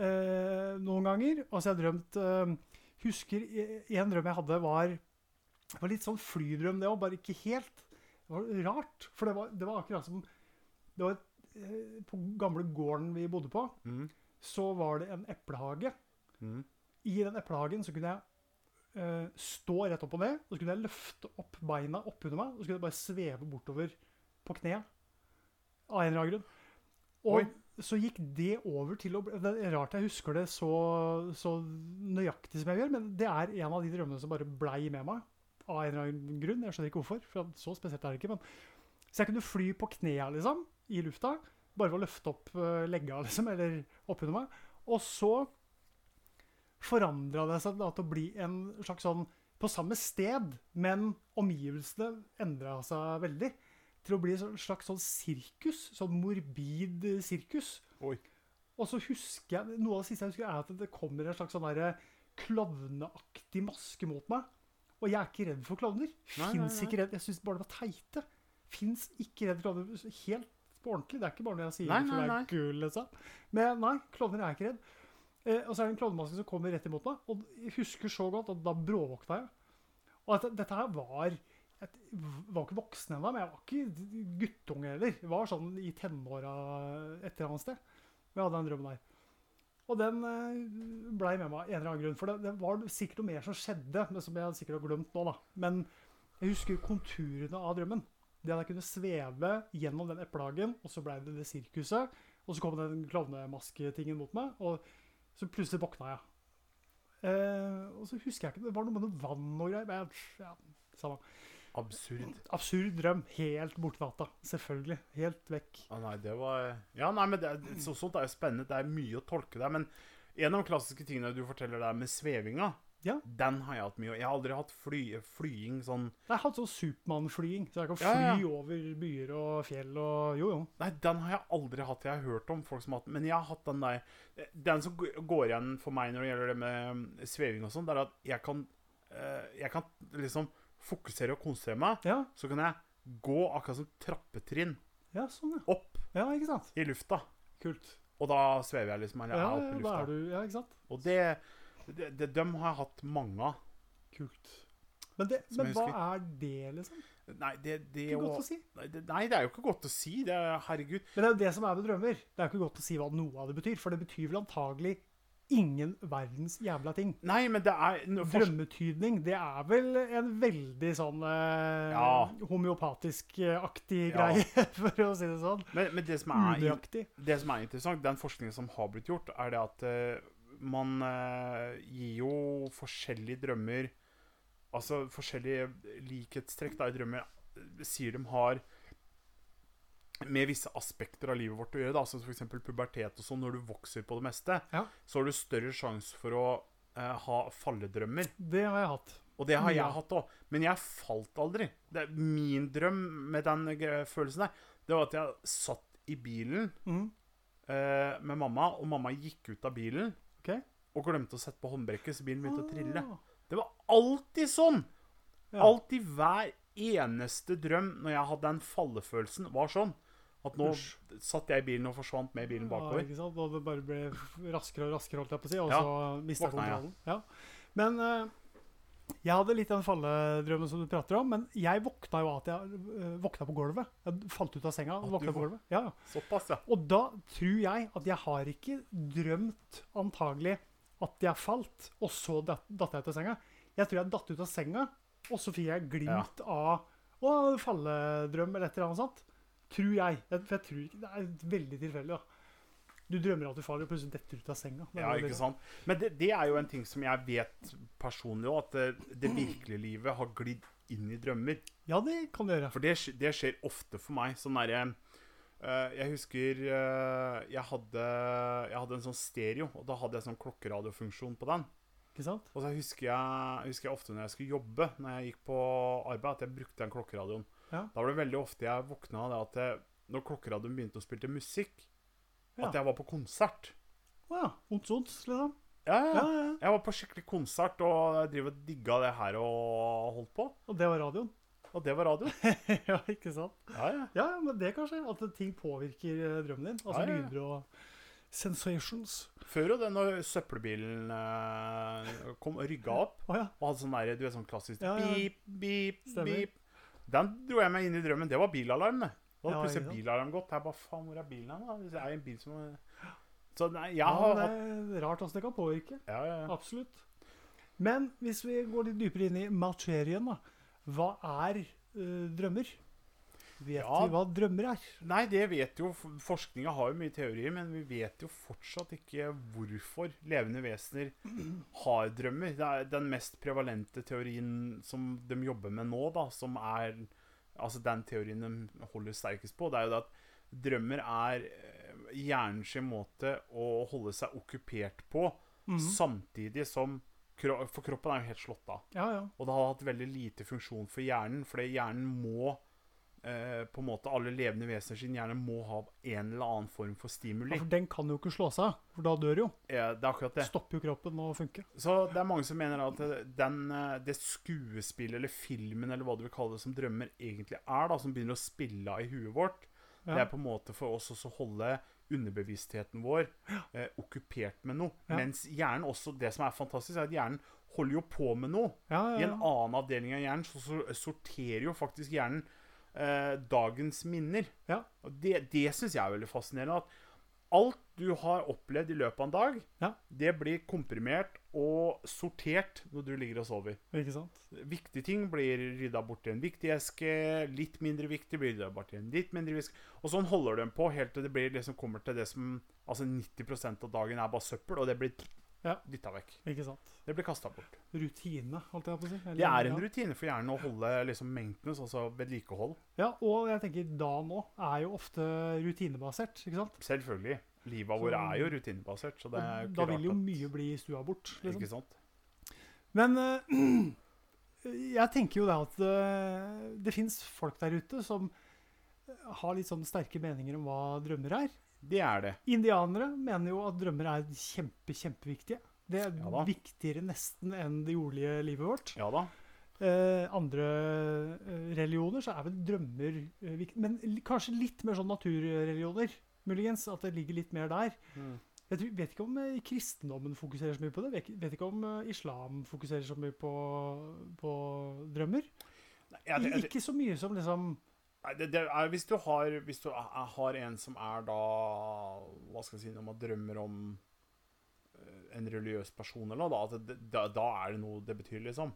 Speaker 1: eh, noen ganger. Og så har jeg drømt eh, Husker eh, en drøm jeg hadde, var Det var litt sånn flydrøm, det òg, bare ikke helt. Det var rart. For det var, det var akkurat som det var, eh, På gamle gården vi bodde på,
Speaker 2: Mm.
Speaker 1: så var det en eplehage.
Speaker 2: Mm.
Speaker 1: I den eplehagen så kunne jeg eh, stå rett opp og ned, og så kunne jeg løfte opp beina oppunder meg, og så kunne jeg bare sveve bortover på kne. Av en eller annen grunn. Og
Speaker 2: Oi.
Speaker 1: så gikk det over til å bli Det er rart jeg husker det så, så nøyaktig som jeg gjør, men det er en av de drømmene som bare blei med meg. Av en eller annen grunn. Jeg skjønner ikke hvorfor, for så spesielt er det ikke. Men, så jeg kunne fly på knea, liksom, i lufta. Bare ved å løfte opp eh, legga, liksom, eller oppunder meg. Og så forandra det seg da til å bli en slags sånn På samme sted, men omgivelsene endra seg veldig. Til å bli en slags sånn sirkus. Sånn morbid eh, sirkus.
Speaker 2: Oi.
Speaker 1: Og så husker jeg Noe av det siste jeg husker, er at det kommer en slags sånn derre klovneaktig maske mot meg. Og jeg er ikke redd for klovner.
Speaker 2: Nei, nei,
Speaker 1: Fins
Speaker 2: nei.
Speaker 1: ikke redd. Jeg syns bare det var teite. Fins ikke redd for klovner. Helt på ordentlig. Det er ikke bare når jeg sier
Speaker 2: Nei,
Speaker 1: det for
Speaker 2: nei,
Speaker 1: det
Speaker 2: nei.
Speaker 1: er kul, liksom. Men nei, klovner er jeg ikke redd. Eh, og så er det en klovnemaske som kommer rett imot meg. Og jeg husker så godt at da bråvåkna jeg. Og at dette her var Jeg var ikke voksen ennå, men jeg var ikke guttunge heller. Jeg var sånn i tenåra et eller annet sted. Men jeg hadde den drømmen der. Og den eh, blei med meg av en eller annen grunn. For det, det var sikkert noe mer som skjedde, men som jeg sikkert har glemt nå, da. Men jeg husker konturene av drømmen. Det at jeg kunne sveve gjennom den eplehagen, og så blei det det sirkuset. Og så kom den klovnemasketingen mot meg, og så plutselig våkna jeg. Eh, og så husker jeg ikke Det var noe med noe vann og greier. Men jeg, ja, samme.
Speaker 2: Absurd.
Speaker 1: Absurd drøm. Helt borte natta. Selvfølgelig. Helt vekk.
Speaker 2: Å Ah, nei, det var Ja, nei, men det, er- så, sånt er jo spennende. Det er mye å tolke der. Men en av de klassiske tingene du forteller der med svevinga,
Speaker 1: Ja.
Speaker 2: den har jeg hatt mye av. Jeg har aldri hatt fly, flying sånn
Speaker 1: Jeg har hatt sånn Supermann-flyging. Så jeg kan fly
Speaker 2: Ja, ja.
Speaker 1: over byer og fjell og Jo, jo.
Speaker 2: Nei, den har jeg aldri hatt. Jeg har hørt om folk som har hatt den, men jeg har hatt den der Den som g- går igjen for meg når det gjelder det med sveving og sånn, det er at jeg kan eh, Jeg kan liksom fokusere og konsentrere meg.
Speaker 1: Ja,
Speaker 2: Så kan jeg gå akkurat som trappetrinn
Speaker 1: ja sånn, ja.
Speaker 2: opp
Speaker 1: Ja, ikke sant?
Speaker 2: i lufta.
Speaker 1: Kult.
Speaker 2: Og da svever jeg liksom.
Speaker 1: Ja,
Speaker 2: Eller
Speaker 1: ja,
Speaker 2: jeg er oppe i
Speaker 1: da
Speaker 2: lufta.
Speaker 1: er du Ja, ikke sant?
Speaker 2: Og det, det, det Dem har jeg hatt mange av.
Speaker 1: Kult. Men, det,
Speaker 2: Som
Speaker 1: men
Speaker 2: jeg
Speaker 1: hva
Speaker 2: husker.
Speaker 1: er det, liksom?
Speaker 2: Nei, det, det,
Speaker 1: Ikke
Speaker 2: å,
Speaker 1: godt å si.
Speaker 2: nei, det Nei, det er jo ikke godt å si. Det er, herregud.
Speaker 1: Men det er jo det som er med drømmer. Det er ikke godt å si hva noe av det betyr, for det betyr vel antagelig ingen verdens jævla ting.
Speaker 2: Nei, men det er nå, fors-
Speaker 1: Drømmetydning, det er vel en veldig sånn eh,
Speaker 2: Ja.
Speaker 1: homeopatisk-aktig
Speaker 2: Ja.
Speaker 1: greie, for å si det sånn.
Speaker 2: men, men det som er
Speaker 1: Unøyaktig.
Speaker 2: Det som er interessant, den forskningen som har blitt gjort, er det at eh, man eh, gir jo forskjellige drømmer Altså forskjellige likhetstrekk da, i drømmer eh, sier de har med visse aspekter av livet vårt å gjøre, da, som f.eks. pubertet og sånn, når du vokser på det meste,
Speaker 1: Ja.
Speaker 2: så har du større sjanse for å eh, ha falledrømmer.
Speaker 1: Det har jeg hatt.
Speaker 2: Og det har
Speaker 1: Ja.
Speaker 2: jeg hatt òg. Men jeg falt aldri. Det er min drøm med den gre- følelsen der, det var at jeg satt i bilen
Speaker 1: Mm.
Speaker 2: eh, med mamma, og mamma gikk ut av bilen
Speaker 1: Ok.
Speaker 2: og glemte å sette på håndbrekket, så bilen begynte å trille.
Speaker 1: Ah.
Speaker 2: Det var alltid sånn!
Speaker 1: Ja.
Speaker 2: Alltid hver eneste drøm når jeg hadde den fallefølelsen, var sånn. At nå
Speaker 1: Usch.
Speaker 2: satt jeg i bilen og forsvant med bilen
Speaker 1: Ja,
Speaker 2: bakover.
Speaker 1: ikke sant? Og det bare ble raskere og raskere, holdt jeg på å si, og
Speaker 2: Ja.
Speaker 1: så mista jeg
Speaker 2: Våkna jeg.
Speaker 1: kontrollen. Ja. Men eh, jeg hadde litt den falledrømmen som du prater om, men jeg våkna jo av at jeg eh, våkna på gulvet. Jeg falt ut av senga og
Speaker 2: At du
Speaker 1: våkna på
Speaker 2: våk-
Speaker 1: gulvet. Ja, ja.
Speaker 2: Såpass, ja.
Speaker 1: Og da tror jeg at jeg har ikke drømt, antagelig, at jeg falt, og så datt datt jeg ut av senga. Jeg tror jeg datt ut av senga, og så fikk jeg glimt av å, falledrøm eller et eller annet sånt. Tror jeg. jeg. For jeg tror ikke Det er veldig tilfeldig, da. Du drømmer at du faller, og plutselig detter du ut av senga. Det er
Speaker 2: Ja,
Speaker 1: jo det-
Speaker 2: ikke sant? Men det, det er jo en ting som jeg vet personlig òg, at det, det virkelige livet har glidd inn i drømmer.
Speaker 1: Ja, det kan du gjøre.
Speaker 2: For det, skj- det skjer ofte for meg. Sånn derre eh, Jeg husker eh, jeg, hadde, jeg hadde en sånn stereo, og da hadde jeg sånn klokkeradiofunksjon på den.
Speaker 1: Ikke sant?
Speaker 2: Og så husker jeg, husker jeg ofte når jeg skulle jobbe, når jeg gikk på arbeid, at jeg brukte den klokkeradioen.
Speaker 1: Ja.
Speaker 2: Da var det veldig ofte jeg våkna av det at jeg, når klokkeradioen begynte å spille musikk,
Speaker 1: Ja.
Speaker 2: at jeg var på konsert.
Speaker 1: Å ja. Ons, ons, liksom.
Speaker 2: Ja, ja.
Speaker 1: Ja, ja, ja.
Speaker 2: Jeg var på skikkelig konsert og jeg driver og digga det her og holdt på.
Speaker 1: Og det var radioen.
Speaker 2: Og det var radio.
Speaker 1: ja, ikke sant?
Speaker 2: Ja, ja.
Speaker 1: Ja, ja, men det kanskje. At ting påvirker eh, drømmen din. Altså
Speaker 2: Ja, ja, ja.
Speaker 1: lyder og sensations.
Speaker 2: Før jo det, når søppelbilen eh, kom og rygga opp
Speaker 1: Å ja.
Speaker 2: og hadde sånn der, du vet, sånn klassisk
Speaker 1: Ja, ja.
Speaker 2: beep, beep,
Speaker 1: Stemmer.
Speaker 2: beep. Den dro jeg meg inn i drømmen. Det var bilalarm, det. Da hadde
Speaker 1: Ja, ikke
Speaker 2: plutselig
Speaker 1: sant?
Speaker 2: bilalarm gått. Jeg bare Faen, hvor er bilen hen? da? Det er jo en bil som Så nei, jeg
Speaker 1: ja
Speaker 2: har
Speaker 1: det
Speaker 2: hatt
Speaker 1: er rart åssen det kan påvirke.
Speaker 2: ja, ja, ja.
Speaker 1: Absolutt. Men hvis vi går litt dypere inn i materien, da. Hva er eh, drømmer? Vet
Speaker 2: Ja.
Speaker 1: vi hva drømmer er?
Speaker 2: Nei, det vet jo Forskninga har jo mye teorier, men vi vet jo fortsatt ikke hvorfor levende vesener har drømmer. Det er den mest prevalente teorien som de jobber med nå, da, som er Altså den teorien de holder sterkest på, det er jo det at drømmer er eh, hjernens måte å holde seg okkupert på,
Speaker 1: Mhm.
Speaker 2: samtidig som kro For kroppen er jo helt slått av.
Speaker 1: Ja, ja.
Speaker 2: Og det har hatt veldig lite funksjon for hjernen, fordi hjernen må eh, på en måte Alle levende vesener sin hjerne må ha en eller annen form for
Speaker 1: ja.
Speaker 2: stimuli.
Speaker 1: For den kan jo ikke slå seg av, for da dør jo.
Speaker 2: Eh, det er akkurat det.
Speaker 1: Stopper jo kroppen å funke.
Speaker 2: Så det er mange som mener at eh, den, eh, det skuespillet eller filmen eller hva du vil kalle det som drømmer egentlig er, da, som begynner å spille av i huet vårt, det
Speaker 1: Ja.
Speaker 2: er på en måte for oss også å holde underbevisstheten vår eh, okkupert med noe.
Speaker 1: Ja.
Speaker 2: Mens hjernen også Det som er fantastisk, er at hjernen holder jo på med noe.
Speaker 1: Ja,
Speaker 2: I
Speaker 1: ja, ja.
Speaker 2: en annen avdeling av hjernen så så sorterer jo faktisk hjernen eh, dagens minner.
Speaker 1: Ja.
Speaker 2: Og det det syns jeg er veldig fascinerende. At alt du har opplevd i løpet av en dag,
Speaker 1: Ja.
Speaker 2: det blir komprimert og sortert når du ligger og sover.
Speaker 1: Ikke sant?
Speaker 2: Viktige ting blir rydda bort i en viktig eske, litt mindre viktig blir rydda bort i en litt mindre eske. Og sånn holder de på helt til det blir liksom kommer til det som Altså 90 av dagen er bare søppel, og det blir
Speaker 1: Ja.
Speaker 2: dytta vekk.
Speaker 1: Ikke sant?
Speaker 2: Det blir kasta bort.
Speaker 1: Rutine, holdt jeg på å si. Eller-
Speaker 2: Det er en
Speaker 1: ja.
Speaker 2: rutine for hjernen å holde liksom maintenance, altså vedlikehold.
Speaker 1: Ja, og jeg tenker dagen òg er jo ofte rutinebasert. ikke sant?
Speaker 2: Selvfølgelig. Livet vårt er jo rutinebasert, så det er jo
Speaker 1: Og Sånn.
Speaker 2: ikke
Speaker 1: da
Speaker 2: rart
Speaker 1: vil jo
Speaker 2: at-
Speaker 1: mye bli stua bort. liksom.
Speaker 2: Ikke sant?
Speaker 1: Men eh, jeg tenker jo det at eh, det fins folk der ute som har litt sånn sterke meninger om hva drømmer er.
Speaker 2: Det er det.
Speaker 1: Indianere mener jo at drømmer er kjempe, kjempeviktige. Det er
Speaker 2: Ja da.
Speaker 1: viktigere nesten enn det jordlige livet vårt.
Speaker 2: Ja da.
Speaker 1: Eh, andre eh, religioner så er vel drømmer eh, viktig, men li- kanskje litt mer sånn naturreligioner, muligens, at det ligger litt mer der.
Speaker 2: Mm.
Speaker 1: Jeg tror, vet ikke om eh, kristendommen fokuserer så mye på det. Vet, vet ikke om eh, islam fokuserer så mye på, på drømmer.
Speaker 2: Nei, jeg- jeg- jeg-
Speaker 1: ikke så mye som liksom
Speaker 2: nei, det, det er, hvis du, har, hvis du er, har en som er da Hva skal jeg si Når man drømmer om eh, en religiøs person eller noe, da, at det, da, da er det noe det betyr, liksom.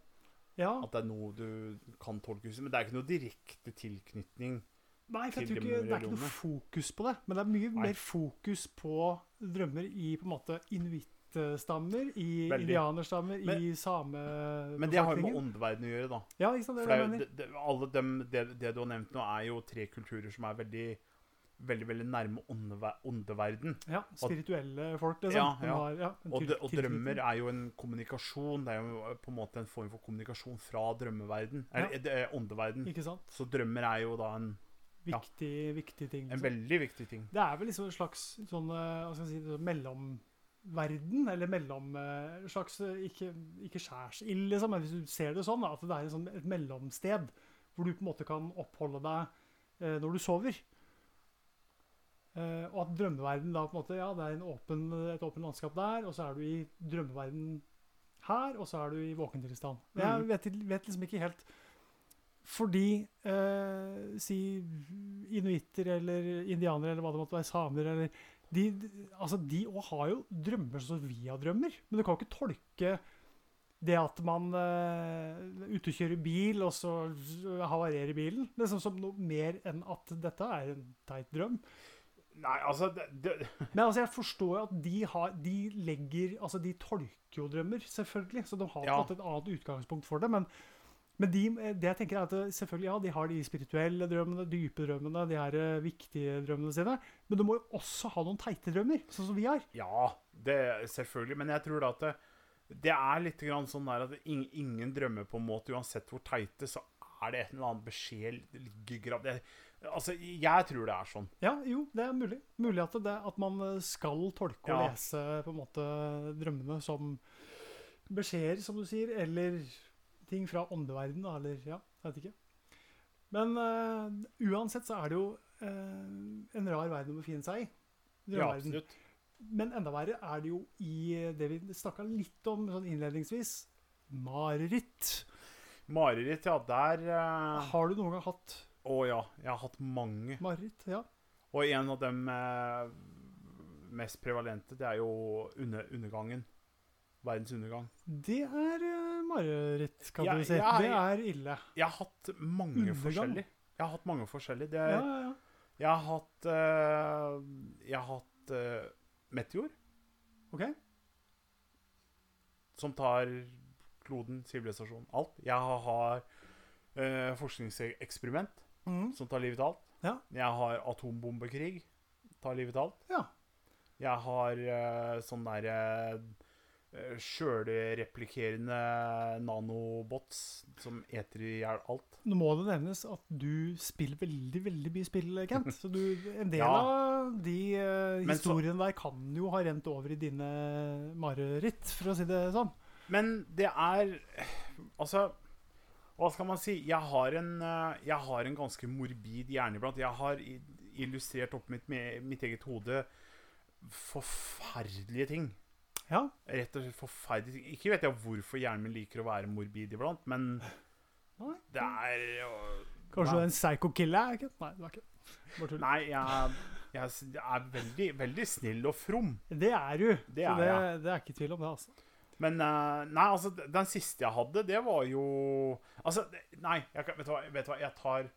Speaker 1: Ja.
Speaker 2: At det er noe du kan tolke Men det er ikke noe direkte tilknytning.
Speaker 1: Nei, for jeg
Speaker 2: til
Speaker 1: tror ikke det er ikke
Speaker 2: religionene.
Speaker 1: noe fokus på det. Men det er mye
Speaker 2: Nei.
Speaker 1: mer fokus på drømmer i på en måte inuittstammer, i
Speaker 2: Veldig.
Speaker 1: indianerstammer,
Speaker 2: Men-
Speaker 1: i
Speaker 2: Men det har jo med
Speaker 1: samebefolkningen.
Speaker 2: åndeverdenen å gjøre, da.
Speaker 1: Ja, ikke sant. Det
Speaker 2: For
Speaker 1: er det jeg
Speaker 2: det, er
Speaker 1: mener.
Speaker 2: jo- det, det, alle dem, det, det du har nevnt nå, er jo tre kulturer som er veldig veldig, veldig nærme åndever- åndeverden.
Speaker 1: Ja, spirituelle folk, liksom.
Speaker 2: Ja,
Speaker 1: De
Speaker 2: ja.
Speaker 1: Har, ja, en
Speaker 2: Og,
Speaker 1: til-
Speaker 2: dø- og
Speaker 1: tilknytning.
Speaker 2: drømmer er jo en kommunikasjon. Det er jo eh, på en måte en form for kommunikasjon fra drømmeverden. Eller
Speaker 1: Ja.
Speaker 2: det er åndeverden.
Speaker 1: Ikke sant?
Speaker 2: Så drømmer er jo da en, Ja.
Speaker 1: Viktig, viktig ting.
Speaker 2: en
Speaker 1: liksom.
Speaker 2: veldig viktig ting.
Speaker 1: Det er vel liksom en slags sånn, eh, hva skal jeg si, sånn mellomverden, eller mellom eh, slags eh, Ikke, ikke skjærsild, liksom, men hvis du ser det sånn, da, at det er en sånn, et mellomsted hvor du på en måte kan oppholde deg eh, når du sover. Eh, og at drømmeverden da på en måte, ja, det er en åpen, et åpen landskap der, og så er du i drømmeverden her, og så er du i våkentilstand. Men Jeg
Speaker 2: Mhm.
Speaker 1: vet, vet liksom ikke helt fordi eh, si inuitter eller indianere eller hva det måtte være, samer eller De, altså de òg har jo drømmer sånn som vi har drømmer, men du kan jo ikke tolke det at man eh, er ute og kjører bil, og så havarerer bilen, liksom som noe mer enn at dette er en teit drøm.
Speaker 2: Nei, altså det, det,
Speaker 1: Men altså, jeg forstår jo at de, har, de legger Altså, de tolker jo drømmer, selvfølgelig. Så de har på en
Speaker 2: Ja.
Speaker 1: måte et annet utgangspunkt for det. Men, men de, det jeg tenker er at eh, selvfølgelig, ja, de har de spirituelle drømmene, dype drømmene, de her eh, viktige drømmene sine. Men du må jo også ha noen teite drømmer, sånn som vi har.
Speaker 2: Ja, det selvfølgelig. Men jeg tror da at det, Det er litt grann sånn der at ingen, ingen drømmer på en måte, uansett hvor teite, så er det et eller annet beskjed det ligger grav- det- Altså, jeg tror det er sånn.
Speaker 1: Ja, jo, det er mulig. Mulig at, det, at man eh, skal tolke og
Speaker 2: Ja.
Speaker 1: lese på en måte drømmene som beskjeder, som du sier, eller ting fra åndeverdenen, da, eller ja, jeg vet ikke. Men eh, uansett så er det jo eh, en rar verden å befinne seg i.
Speaker 2: Ja,
Speaker 1: Drømmeverden.
Speaker 2: absolutt.
Speaker 1: Men enda verre er det jo i det vi snakka litt om sånn innledningsvis. Mareritt.
Speaker 2: Mareritt, ja, der eh,
Speaker 1: Har du noen gang hatt
Speaker 2: Å ja, jeg har hatt mange.
Speaker 1: mareritt? Ja.
Speaker 2: Og en av dem eh, mest prevalente, det er jo under, undergangen. Verdens undergang.
Speaker 1: Det er eh, mareritt, kan
Speaker 2: Ja,
Speaker 1: du si.
Speaker 2: ja,
Speaker 1: det
Speaker 2: ja.
Speaker 1: er ille.
Speaker 2: Jeg har hatt mange
Speaker 1: Undergang?
Speaker 2: forskjellige. Jeg har hatt mange forskjellige. Det,
Speaker 1: Ja, ja, ja.
Speaker 2: Jeg har hatt eh, Jeg har hatt eh, meteor.
Speaker 1: Ok.
Speaker 2: Som tar kloden, sivilisasjonen, alt. Jeg har, har eh, forskningseksperiment
Speaker 1: Mm.
Speaker 2: som tar livet av alt.
Speaker 1: Ja.
Speaker 2: Jeg har atombombekrig. Tar livet av alt.
Speaker 1: Ja.
Speaker 2: Jeg har eh, sånn derre uh, sjølreplikerende nanobots som eter i hjel alt.
Speaker 1: Nå må det nevnes at du spiller veldig veldig mye spill, Kent. Så du, en del
Speaker 2: Ja.
Speaker 1: av de eh,
Speaker 2: Men så-
Speaker 1: historiene der kan jo ha rent over i dine mareritt, for å si det sånn.
Speaker 2: Men det er Altså, hva skal man si? Jeg har en, eh, jeg har en ganske morbid hjerne iblant. Jeg har i- illustrert opp mitt, med mitt eget hode forferdelige ting.
Speaker 1: Ja.
Speaker 2: Rett og slett forferdelige ting. Ikke vet jeg hvorfor hjernen min liker å være morbid iblant, men
Speaker 1: Nei.
Speaker 2: det er jo-
Speaker 1: Kanskje du
Speaker 2: Nei.
Speaker 1: er en psycho-killer? Kent? Nei, du er ikke det. Bare tull.
Speaker 2: Nei, jeg, jeg s- jeg er veldig, veldig snill og from.
Speaker 1: Det er du.
Speaker 2: Det
Speaker 1: så
Speaker 2: er
Speaker 1: det,
Speaker 2: jeg.
Speaker 1: det er ikke tvil om det, altså.
Speaker 2: Men eh, Nei, altså, den siste jeg hadde, det var jo Altså, det- nei, jeg, kan- vet, du hva, vet du hva, jeg tar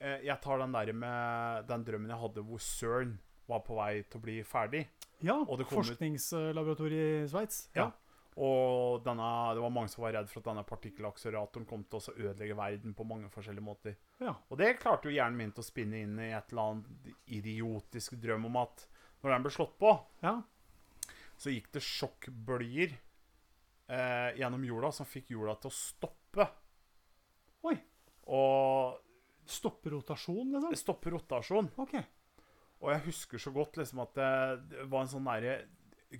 Speaker 2: eh, Jeg tar den der med den drømmen jeg hadde hvor CERN var på vei til å bli ferdig.
Speaker 1: Ja,
Speaker 2: Og det kom ut-
Speaker 1: forskningslaboratoriet i Sveits.
Speaker 2: Ja. Og denne, det var mange som var redd for at denne partikkelakseleratoren kom til å også ødelegge verden på mange forskjellige måter.
Speaker 1: Ja.
Speaker 2: Og det klarte jo hjernen min til å spinne inn i et eller annet idiotisk drøm om at når den ble slått på,
Speaker 1: ja.
Speaker 2: så gikk det sjokkbølger eh, gjennom jorda som fikk jorda til å stoppe.
Speaker 1: Oi.
Speaker 2: Og
Speaker 1: Stoppe rotasjon, liksom?
Speaker 2: stoppe rotasjon.
Speaker 1: OK.
Speaker 2: Og jeg husker så godt liksom, at det, det var en sånn derre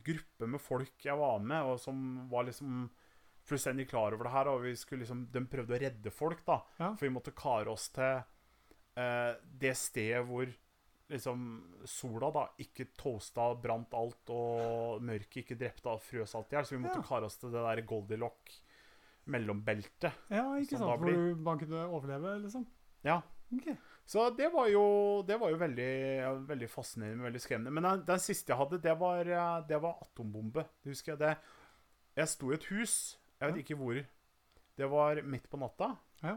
Speaker 2: gruppe med folk jeg var med, og som var liksom fullstendig klar over det her. Og vi skulle liksom, de prøvde å redde folk, da.
Speaker 1: Ja.
Speaker 2: For vi måtte kare oss til eh, det stedet hvor liksom sola da ikke toasta, brant alt, og mørket ikke drepte og frøs alt i hjel. Så vi måtte
Speaker 1: Ja.
Speaker 2: kare oss til det der Goldilock mellombeltet.
Speaker 1: Ja, ikke
Speaker 2: Sånn
Speaker 1: sant?
Speaker 2: da
Speaker 1: Hvor
Speaker 2: blir-
Speaker 1: du- man kunne overleve, liksom?
Speaker 2: Ja.
Speaker 1: Ok.
Speaker 2: Så det var jo, det var jo veldig, veldig fascinerende, men veldig skremmende. Men den, den siste jeg hadde, det var, eh, det var atombombe. Det husker jeg. Det, jeg sto i et hus, jeg vet ikke hvor. Det var midt på natta.
Speaker 1: Ja.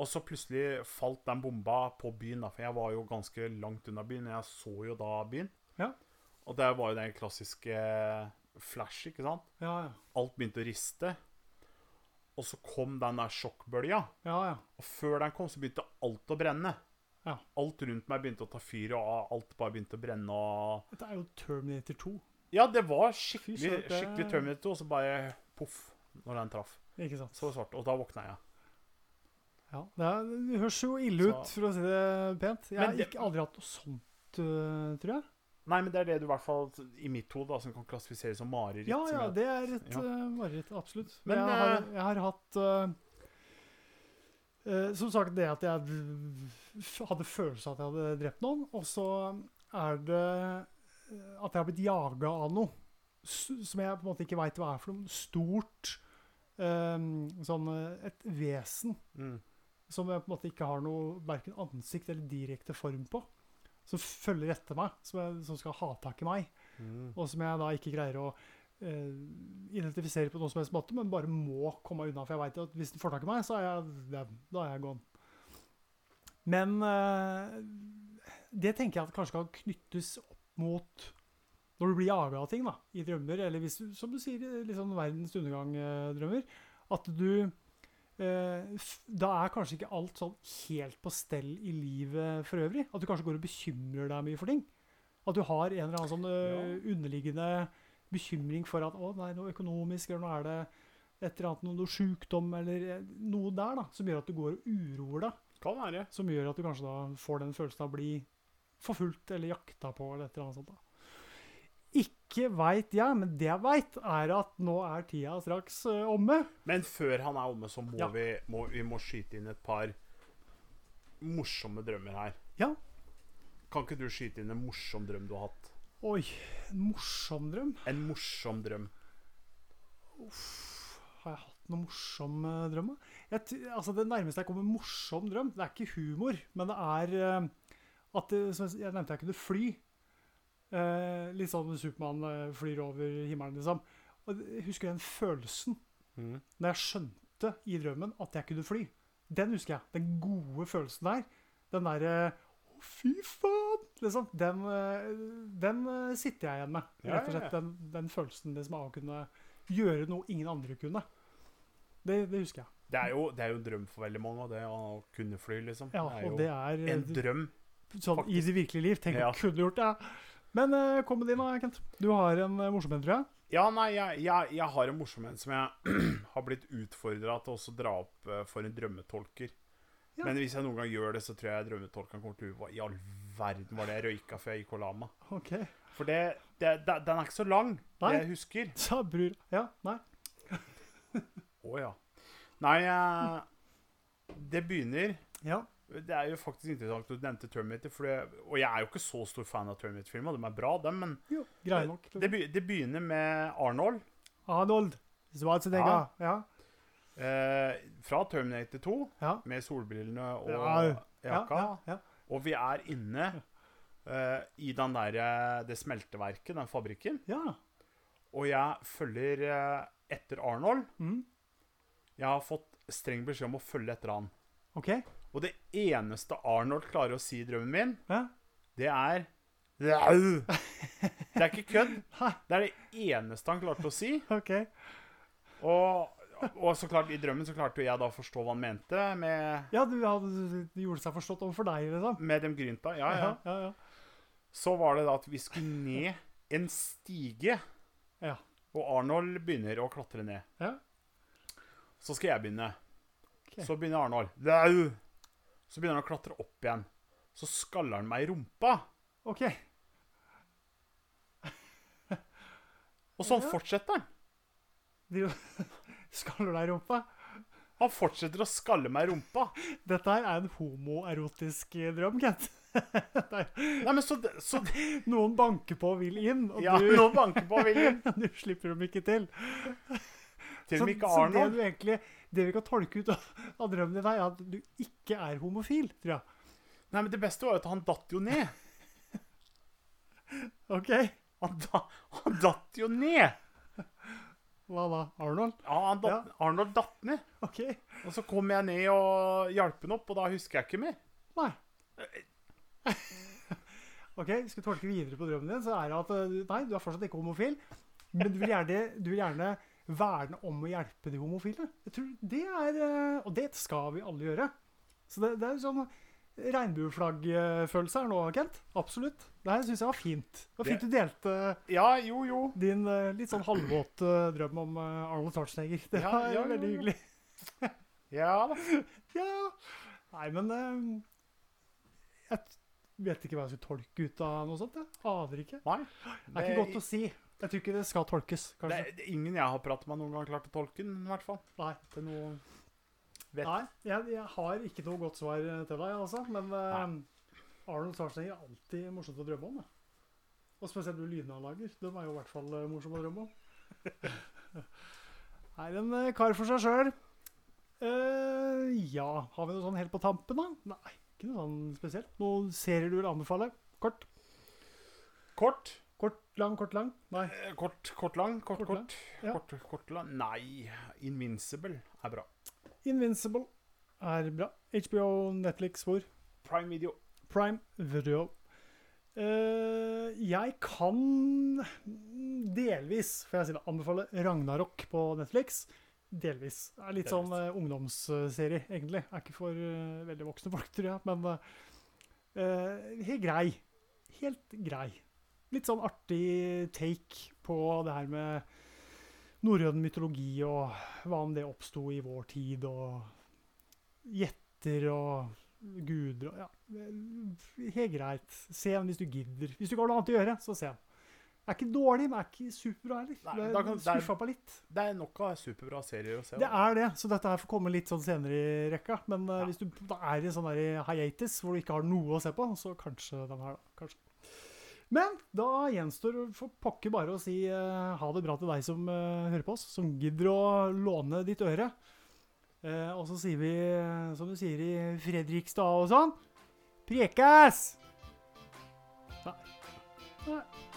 Speaker 2: Og så plutselig falt den bomba på byen, da, for jeg var jo ganske langt unna byen. og Jeg så jo da byen.
Speaker 1: Ja.
Speaker 2: Og det var jo den klassiske eh, flash, ikke sant?
Speaker 1: Ja, ja.
Speaker 2: Alt begynte å riste. Og så kom den der sjokkbølga.
Speaker 1: ja, ja.
Speaker 2: Og før den kom, så begynte alt å brenne.
Speaker 1: Ja.
Speaker 2: Alt rundt meg begynte å ta fyr, og alt bare begynte å brenne. Og...
Speaker 1: Dette er jo Terminator 2,
Speaker 2: Ja, det var
Speaker 1: Fy
Speaker 2: skikkelig,
Speaker 1: søren, det-
Speaker 2: skikkelig Terminator, og så bare poff, når den traff.
Speaker 1: ikke sant?
Speaker 2: Så var det svart, og da våkna jeg.
Speaker 1: Ja, det, er, det høres jo ille
Speaker 2: Så-
Speaker 1: ut, for å si det pent. Jeg
Speaker 2: Men
Speaker 1: har
Speaker 2: det-
Speaker 1: ikke aldri hatt noe sånt, øh, tror jeg.
Speaker 2: Nei, men det er det du i hvert fall, i mitt hode, da, som kan klassifiseres som mareritt.
Speaker 1: Ja,
Speaker 2: som
Speaker 1: ja,
Speaker 2: jeg-
Speaker 1: det er et
Speaker 2: Ja.
Speaker 1: øh, mareritt, absolutt.
Speaker 2: Men,
Speaker 1: jeg, har,
Speaker 2: eh,
Speaker 1: jeg har hatt øh, øh, Som sagt, det at jeg f- hadde følelsen av at jeg hadde drept noen, og så er det øh, at jeg har blitt jaga av noe s- som jeg på en måte ikke veit hva er for noe. Stort. øh, sånn øh, Et vesen.
Speaker 2: Mm.
Speaker 1: som jeg på en måte ikke har noe verken ansikt eller direkte form på, som følger etter meg, som, jeg, som skal ha tak i meg,
Speaker 2: Mm.
Speaker 1: og som jeg da ikke greier å eh, identifisere på noen som helst måte, men bare må komme meg unna, for jeg veit at hvis den får tak i meg, så er jeg, dem. da er jeg gone. Men eh, det tenker jeg at kanskje kan knyttes opp mot når du blir jaga av ting da, i drømmer, eller hvis du, som du sier, eh, litt sånn verdens undergang-drømmer, at du eh, f- da er kanskje ikke alt sånn helt på stell i livet for øvrig. At du kanskje går og bekymrer deg mye for ting. At du har en eller annen sånn eh, underliggende bekymring for at å, det er noe økonomisk, eller nå er det et eller annet, noe, noe sykdom, eller eh, noe der da, som gjør at du går og uroer deg.
Speaker 2: Kan være.
Speaker 1: Som gjør at du kanskje da får den følelsen av å bli forfulgt eller jakta på eller et eller annet sånt. da. Ikke veit jeg, men det jeg veit, er at nå er tida straks eh, omme.
Speaker 2: Men før han er omme, så må,
Speaker 1: Ja.
Speaker 2: vi, må vi må skyte inn et par morsomme drømmer her.
Speaker 1: Ja.
Speaker 2: Kan ikke du skyte inn en morsom drøm du har hatt?
Speaker 1: Oi, en morsom drøm.
Speaker 2: En morsom drøm.
Speaker 1: Uff, har jeg hatt noen morsom eh, drøm? da? Jeg, t- altså, det nærmeste jeg kommer morsom drøm, det er ikke humor, men det er eh, at det, som jeg s- jeg nevnte, jeg kunne fly. Eh, litt sånn Supermann eh, flyr over himmelen, liksom. Og det- jeg husker den følelsen når jeg skjønte i drømmen at jeg kunne fly. Den husker jeg. Den gode følelsen der. Den derre Å, fy faen! Liksom. Den, eh, den eh, sitter jeg igjen med.
Speaker 2: Ja,
Speaker 1: Rett og
Speaker 2: ja,
Speaker 1: slett
Speaker 2: ja.
Speaker 1: den, den følelsen liksom, av å kunne gjøre noe ingen andre kunne. Det, det husker jeg.
Speaker 2: Det, er jo, det er jo en drøm for veldig mange, og det å kunne fly, liksom.
Speaker 1: Ja,
Speaker 2: det er jo
Speaker 1: og det er eh,
Speaker 2: en drøm.
Speaker 1: sånn i det virkelige liv. Tenk
Speaker 2: Ja.
Speaker 1: om jeg kunne gjort det. Men eh, kom med din, da, Kent. Du har en eh, morsom en, tror jeg.
Speaker 2: Ja, nei, jeg, jeg, jeg har en morsom en som jeg har blitt utfordra til også å dra opp eh, for en drømmetolker.
Speaker 1: Ja.
Speaker 2: Men hvis jeg noen gang gjør det, så tror jeg drømmetolkeren kommer til å Hva i all verden var det jeg røyka før jeg gikk og la meg?
Speaker 1: OK.
Speaker 2: For det, det, det, den er ikke så lang,
Speaker 1: Nei.
Speaker 2: det jeg husker.
Speaker 1: Sa bror Ja, nei.
Speaker 2: Å ja. Nei, eh, det begynner
Speaker 1: Ja.
Speaker 2: Det er jo faktisk interessant at du nevnte Terminator, for det, og jeg er jo ikke så stor fan av Terminator-filmer. De er bra, dem, men
Speaker 1: Jo, greie nok.
Speaker 2: det, be, det begynner med Arnold
Speaker 1: Arnold Schwarzenegger. Ja.
Speaker 2: eh, fra Terminator 2,
Speaker 1: ja.
Speaker 2: med solbrillene og
Speaker 1: Ja,
Speaker 2: jakka.
Speaker 1: ja,
Speaker 2: Og vi er inne eh, i den der, eh, det smelteverket, den fabrikken.
Speaker 1: ja. ja.
Speaker 2: Og jeg følger eh, etter Arnold.
Speaker 1: Mm.
Speaker 2: Jeg har fått streng beskjed om å følge etter han.
Speaker 1: OK.
Speaker 2: Og det eneste Arnold klarer å si i drømmen min,
Speaker 1: Ja.
Speaker 2: det er Au! Det er ikke kødd.
Speaker 1: Nei.
Speaker 2: Det er det eneste han klarte å si.
Speaker 1: OK.
Speaker 2: Og, og så klart, i drømmen så klarte jo jeg da å forstå hva han mente med,
Speaker 1: Ja, du hadde, det gjorde seg forstått overfor deg, liksom.
Speaker 2: med de grynta. Ja, ja.
Speaker 1: ja, ja.
Speaker 2: Så var det da at vi skulle ned en stige,
Speaker 1: Ja.
Speaker 2: og Arnold begynner å klatre ned.
Speaker 1: Ja.
Speaker 2: Så skal jeg begynne.
Speaker 1: Ok.
Speaker 2: Så begynner Arnold. Au! Så begynner han å klatre opp igjen. Så skaller han meg i rumpa.
Speaker 1: OK.
Speaker 2: Og sånn
Speaker 1: Ja.
Speaker 2: fortsetter han.
Speaker 1: De, skaller deg i rumpa.
Speaker 2: Han fortsetter å skalle meg i rumpa.
Speaker 1: Dette her er en homoerotisk eh, drøm, Kent.
Speaker 2: Nei, men så, så
Speaker 1: Noen banker på og vil inn, og
Speaker 2: Ja,
Speaker 1: du,
Speaker 2: nå banker på William.
Speaker 1: du slipper dem ikke til.
Speaker 2: Til og med ikke
Speaker 1: så det,
Speaker 2: Arnold.
Speaker 1: du egentlig, det vi kan tolke ut av, av drømmen din, her, er at du ikke er homofil, tror jeg.
Speaker 2: Nei, men det beste var jo at han datt jo ned.
Speaker 1: OK?
Speaker 2: Han, da, han datt jo ned.
Speaker 1: Hva da? Arnold?
Speaker 2: Ja, han datt, Arnold datt ned.
Speaker 1: OK.
Speaker 2: Og så kom jeg ned og hjalp han opp, og da husker jeg ikke mer.
Speaker 1: Nei. Ok, skal vi tolke videre på drømmen din, så er det at eh, du- nei, du er fortsatt ikke homofil, men du vil gjerne, du vil gjerne verne om å hjelpe de homofile. Jeg tror det er, eh, og det skal vi alle gjøre. Så det, det er sånn regnbueflaggfølelse her nå, Kent. Absolutt. Det her synes jeg var fint. Det var fint du delte
Speaker 2: Ja, jo, jo.
Speaker 1: din eh, litt sånn halvvåt eh, drøm om eh, Arnold Schwarzenegger. Det
Speaker 2: Ja,
Speaker 1: var
Speaker 2: ja, ja,
Speaker 1: veldig
Speaker 2: ja.
Speaker 1: hyggelig.
Speaker 2: Ja da.
Speaker 1: Ja. Nei, men eh, Jeg t- vet ikke hva jeg skulle tolke ut av noe sånt. Jeg aner ikke.
Speaker 2: Nei.
Speaker 1: Det er ikke godt å si. Jeg tror ikke det skal tolkes,
Speaker 2: det,
Speaker 1: kanskje.
Speaker 2: det er ingen jeg har pratet med noen gang klart å tolke den, i hvert fall.
Speaker 1: Nei, det er noe...
Speaker 2: Vet.
Speaker 1: Nei jeg, jeg har ikke noe godt svar eh, til deg, altså. Men eh, Arnold Schwarzenegger er alltid morsomt å drømme om. da. Og spesielt du lydene han lager. De er jo i hvert fall eh, morsomme å drømme om. er en eh, kar for seg sjøl. ja, har vi noe sånn helt på tampen, da? Nei, ikke noe sånn spesielt. Noen serier du vil anbefale? Kort?
Speaker 2: Kort.
Speaker 1: Kort, lang, kort, lang? Nei.
Speaker 2: Eh, Kort, kort lang. Kort,
Speaker 1: Kort lang.
Speaker 2: kort.
Speaker 1: Ja.
Speaker 2: Kort, kort lang. Nei. Invincible er bra.
Speaker 1: Invincible er bra. HBO, Netflix, hvor?
Speaker 2: Prime Video.
Speaker 1: Prime Video. Eh, jeg kan delvis, får jeg si det, anbefale Ragnarok på Netflix. Delvis. Det er litt
Speaker 2: Delvis.
Speaker 1: sånn eh, ungdomsserie, egentlig. Er ikke for eh, veldig voksne folk, tror jeg, men eh, helt grei. Helt grei. Litt sånn artig take på det her med norrøn mytologi, og hva om det oppsto i vår tid, og gjetter og guder og Ja, helt greit. Se den hvis du gidder. Hvis du ikke har noe annet å gjøre, så se den. Er ikke dårlig, men er ikke superbra heller.
Speaker 2: Nei,
Speaker 1: Ble
Speaker 2: da kan- det er-
Speaker 1: Skuffa på litt.
Speaker 2: Det er nok av superbra serier å se.
Speaker 1: Det
Speaker 2: da.
Speaker 1: er det, så dette her får komme litt sånn senere i rekka. Men eh,
Speaker 2: Ja.
Speaker 1: hvis du da er i sånn der i hiatus hvor du ikke har noe å se på, så kanskje den her, da. Kanskje. Men da gjenstår det for pokker bare å si eh, ha det bra til deg som eh, hører på oss, som gidder å låne ditt øre. Eh, og så sier vi, eh, som du sier i Fredrikstad og sånn, prekes! Nei. Nei.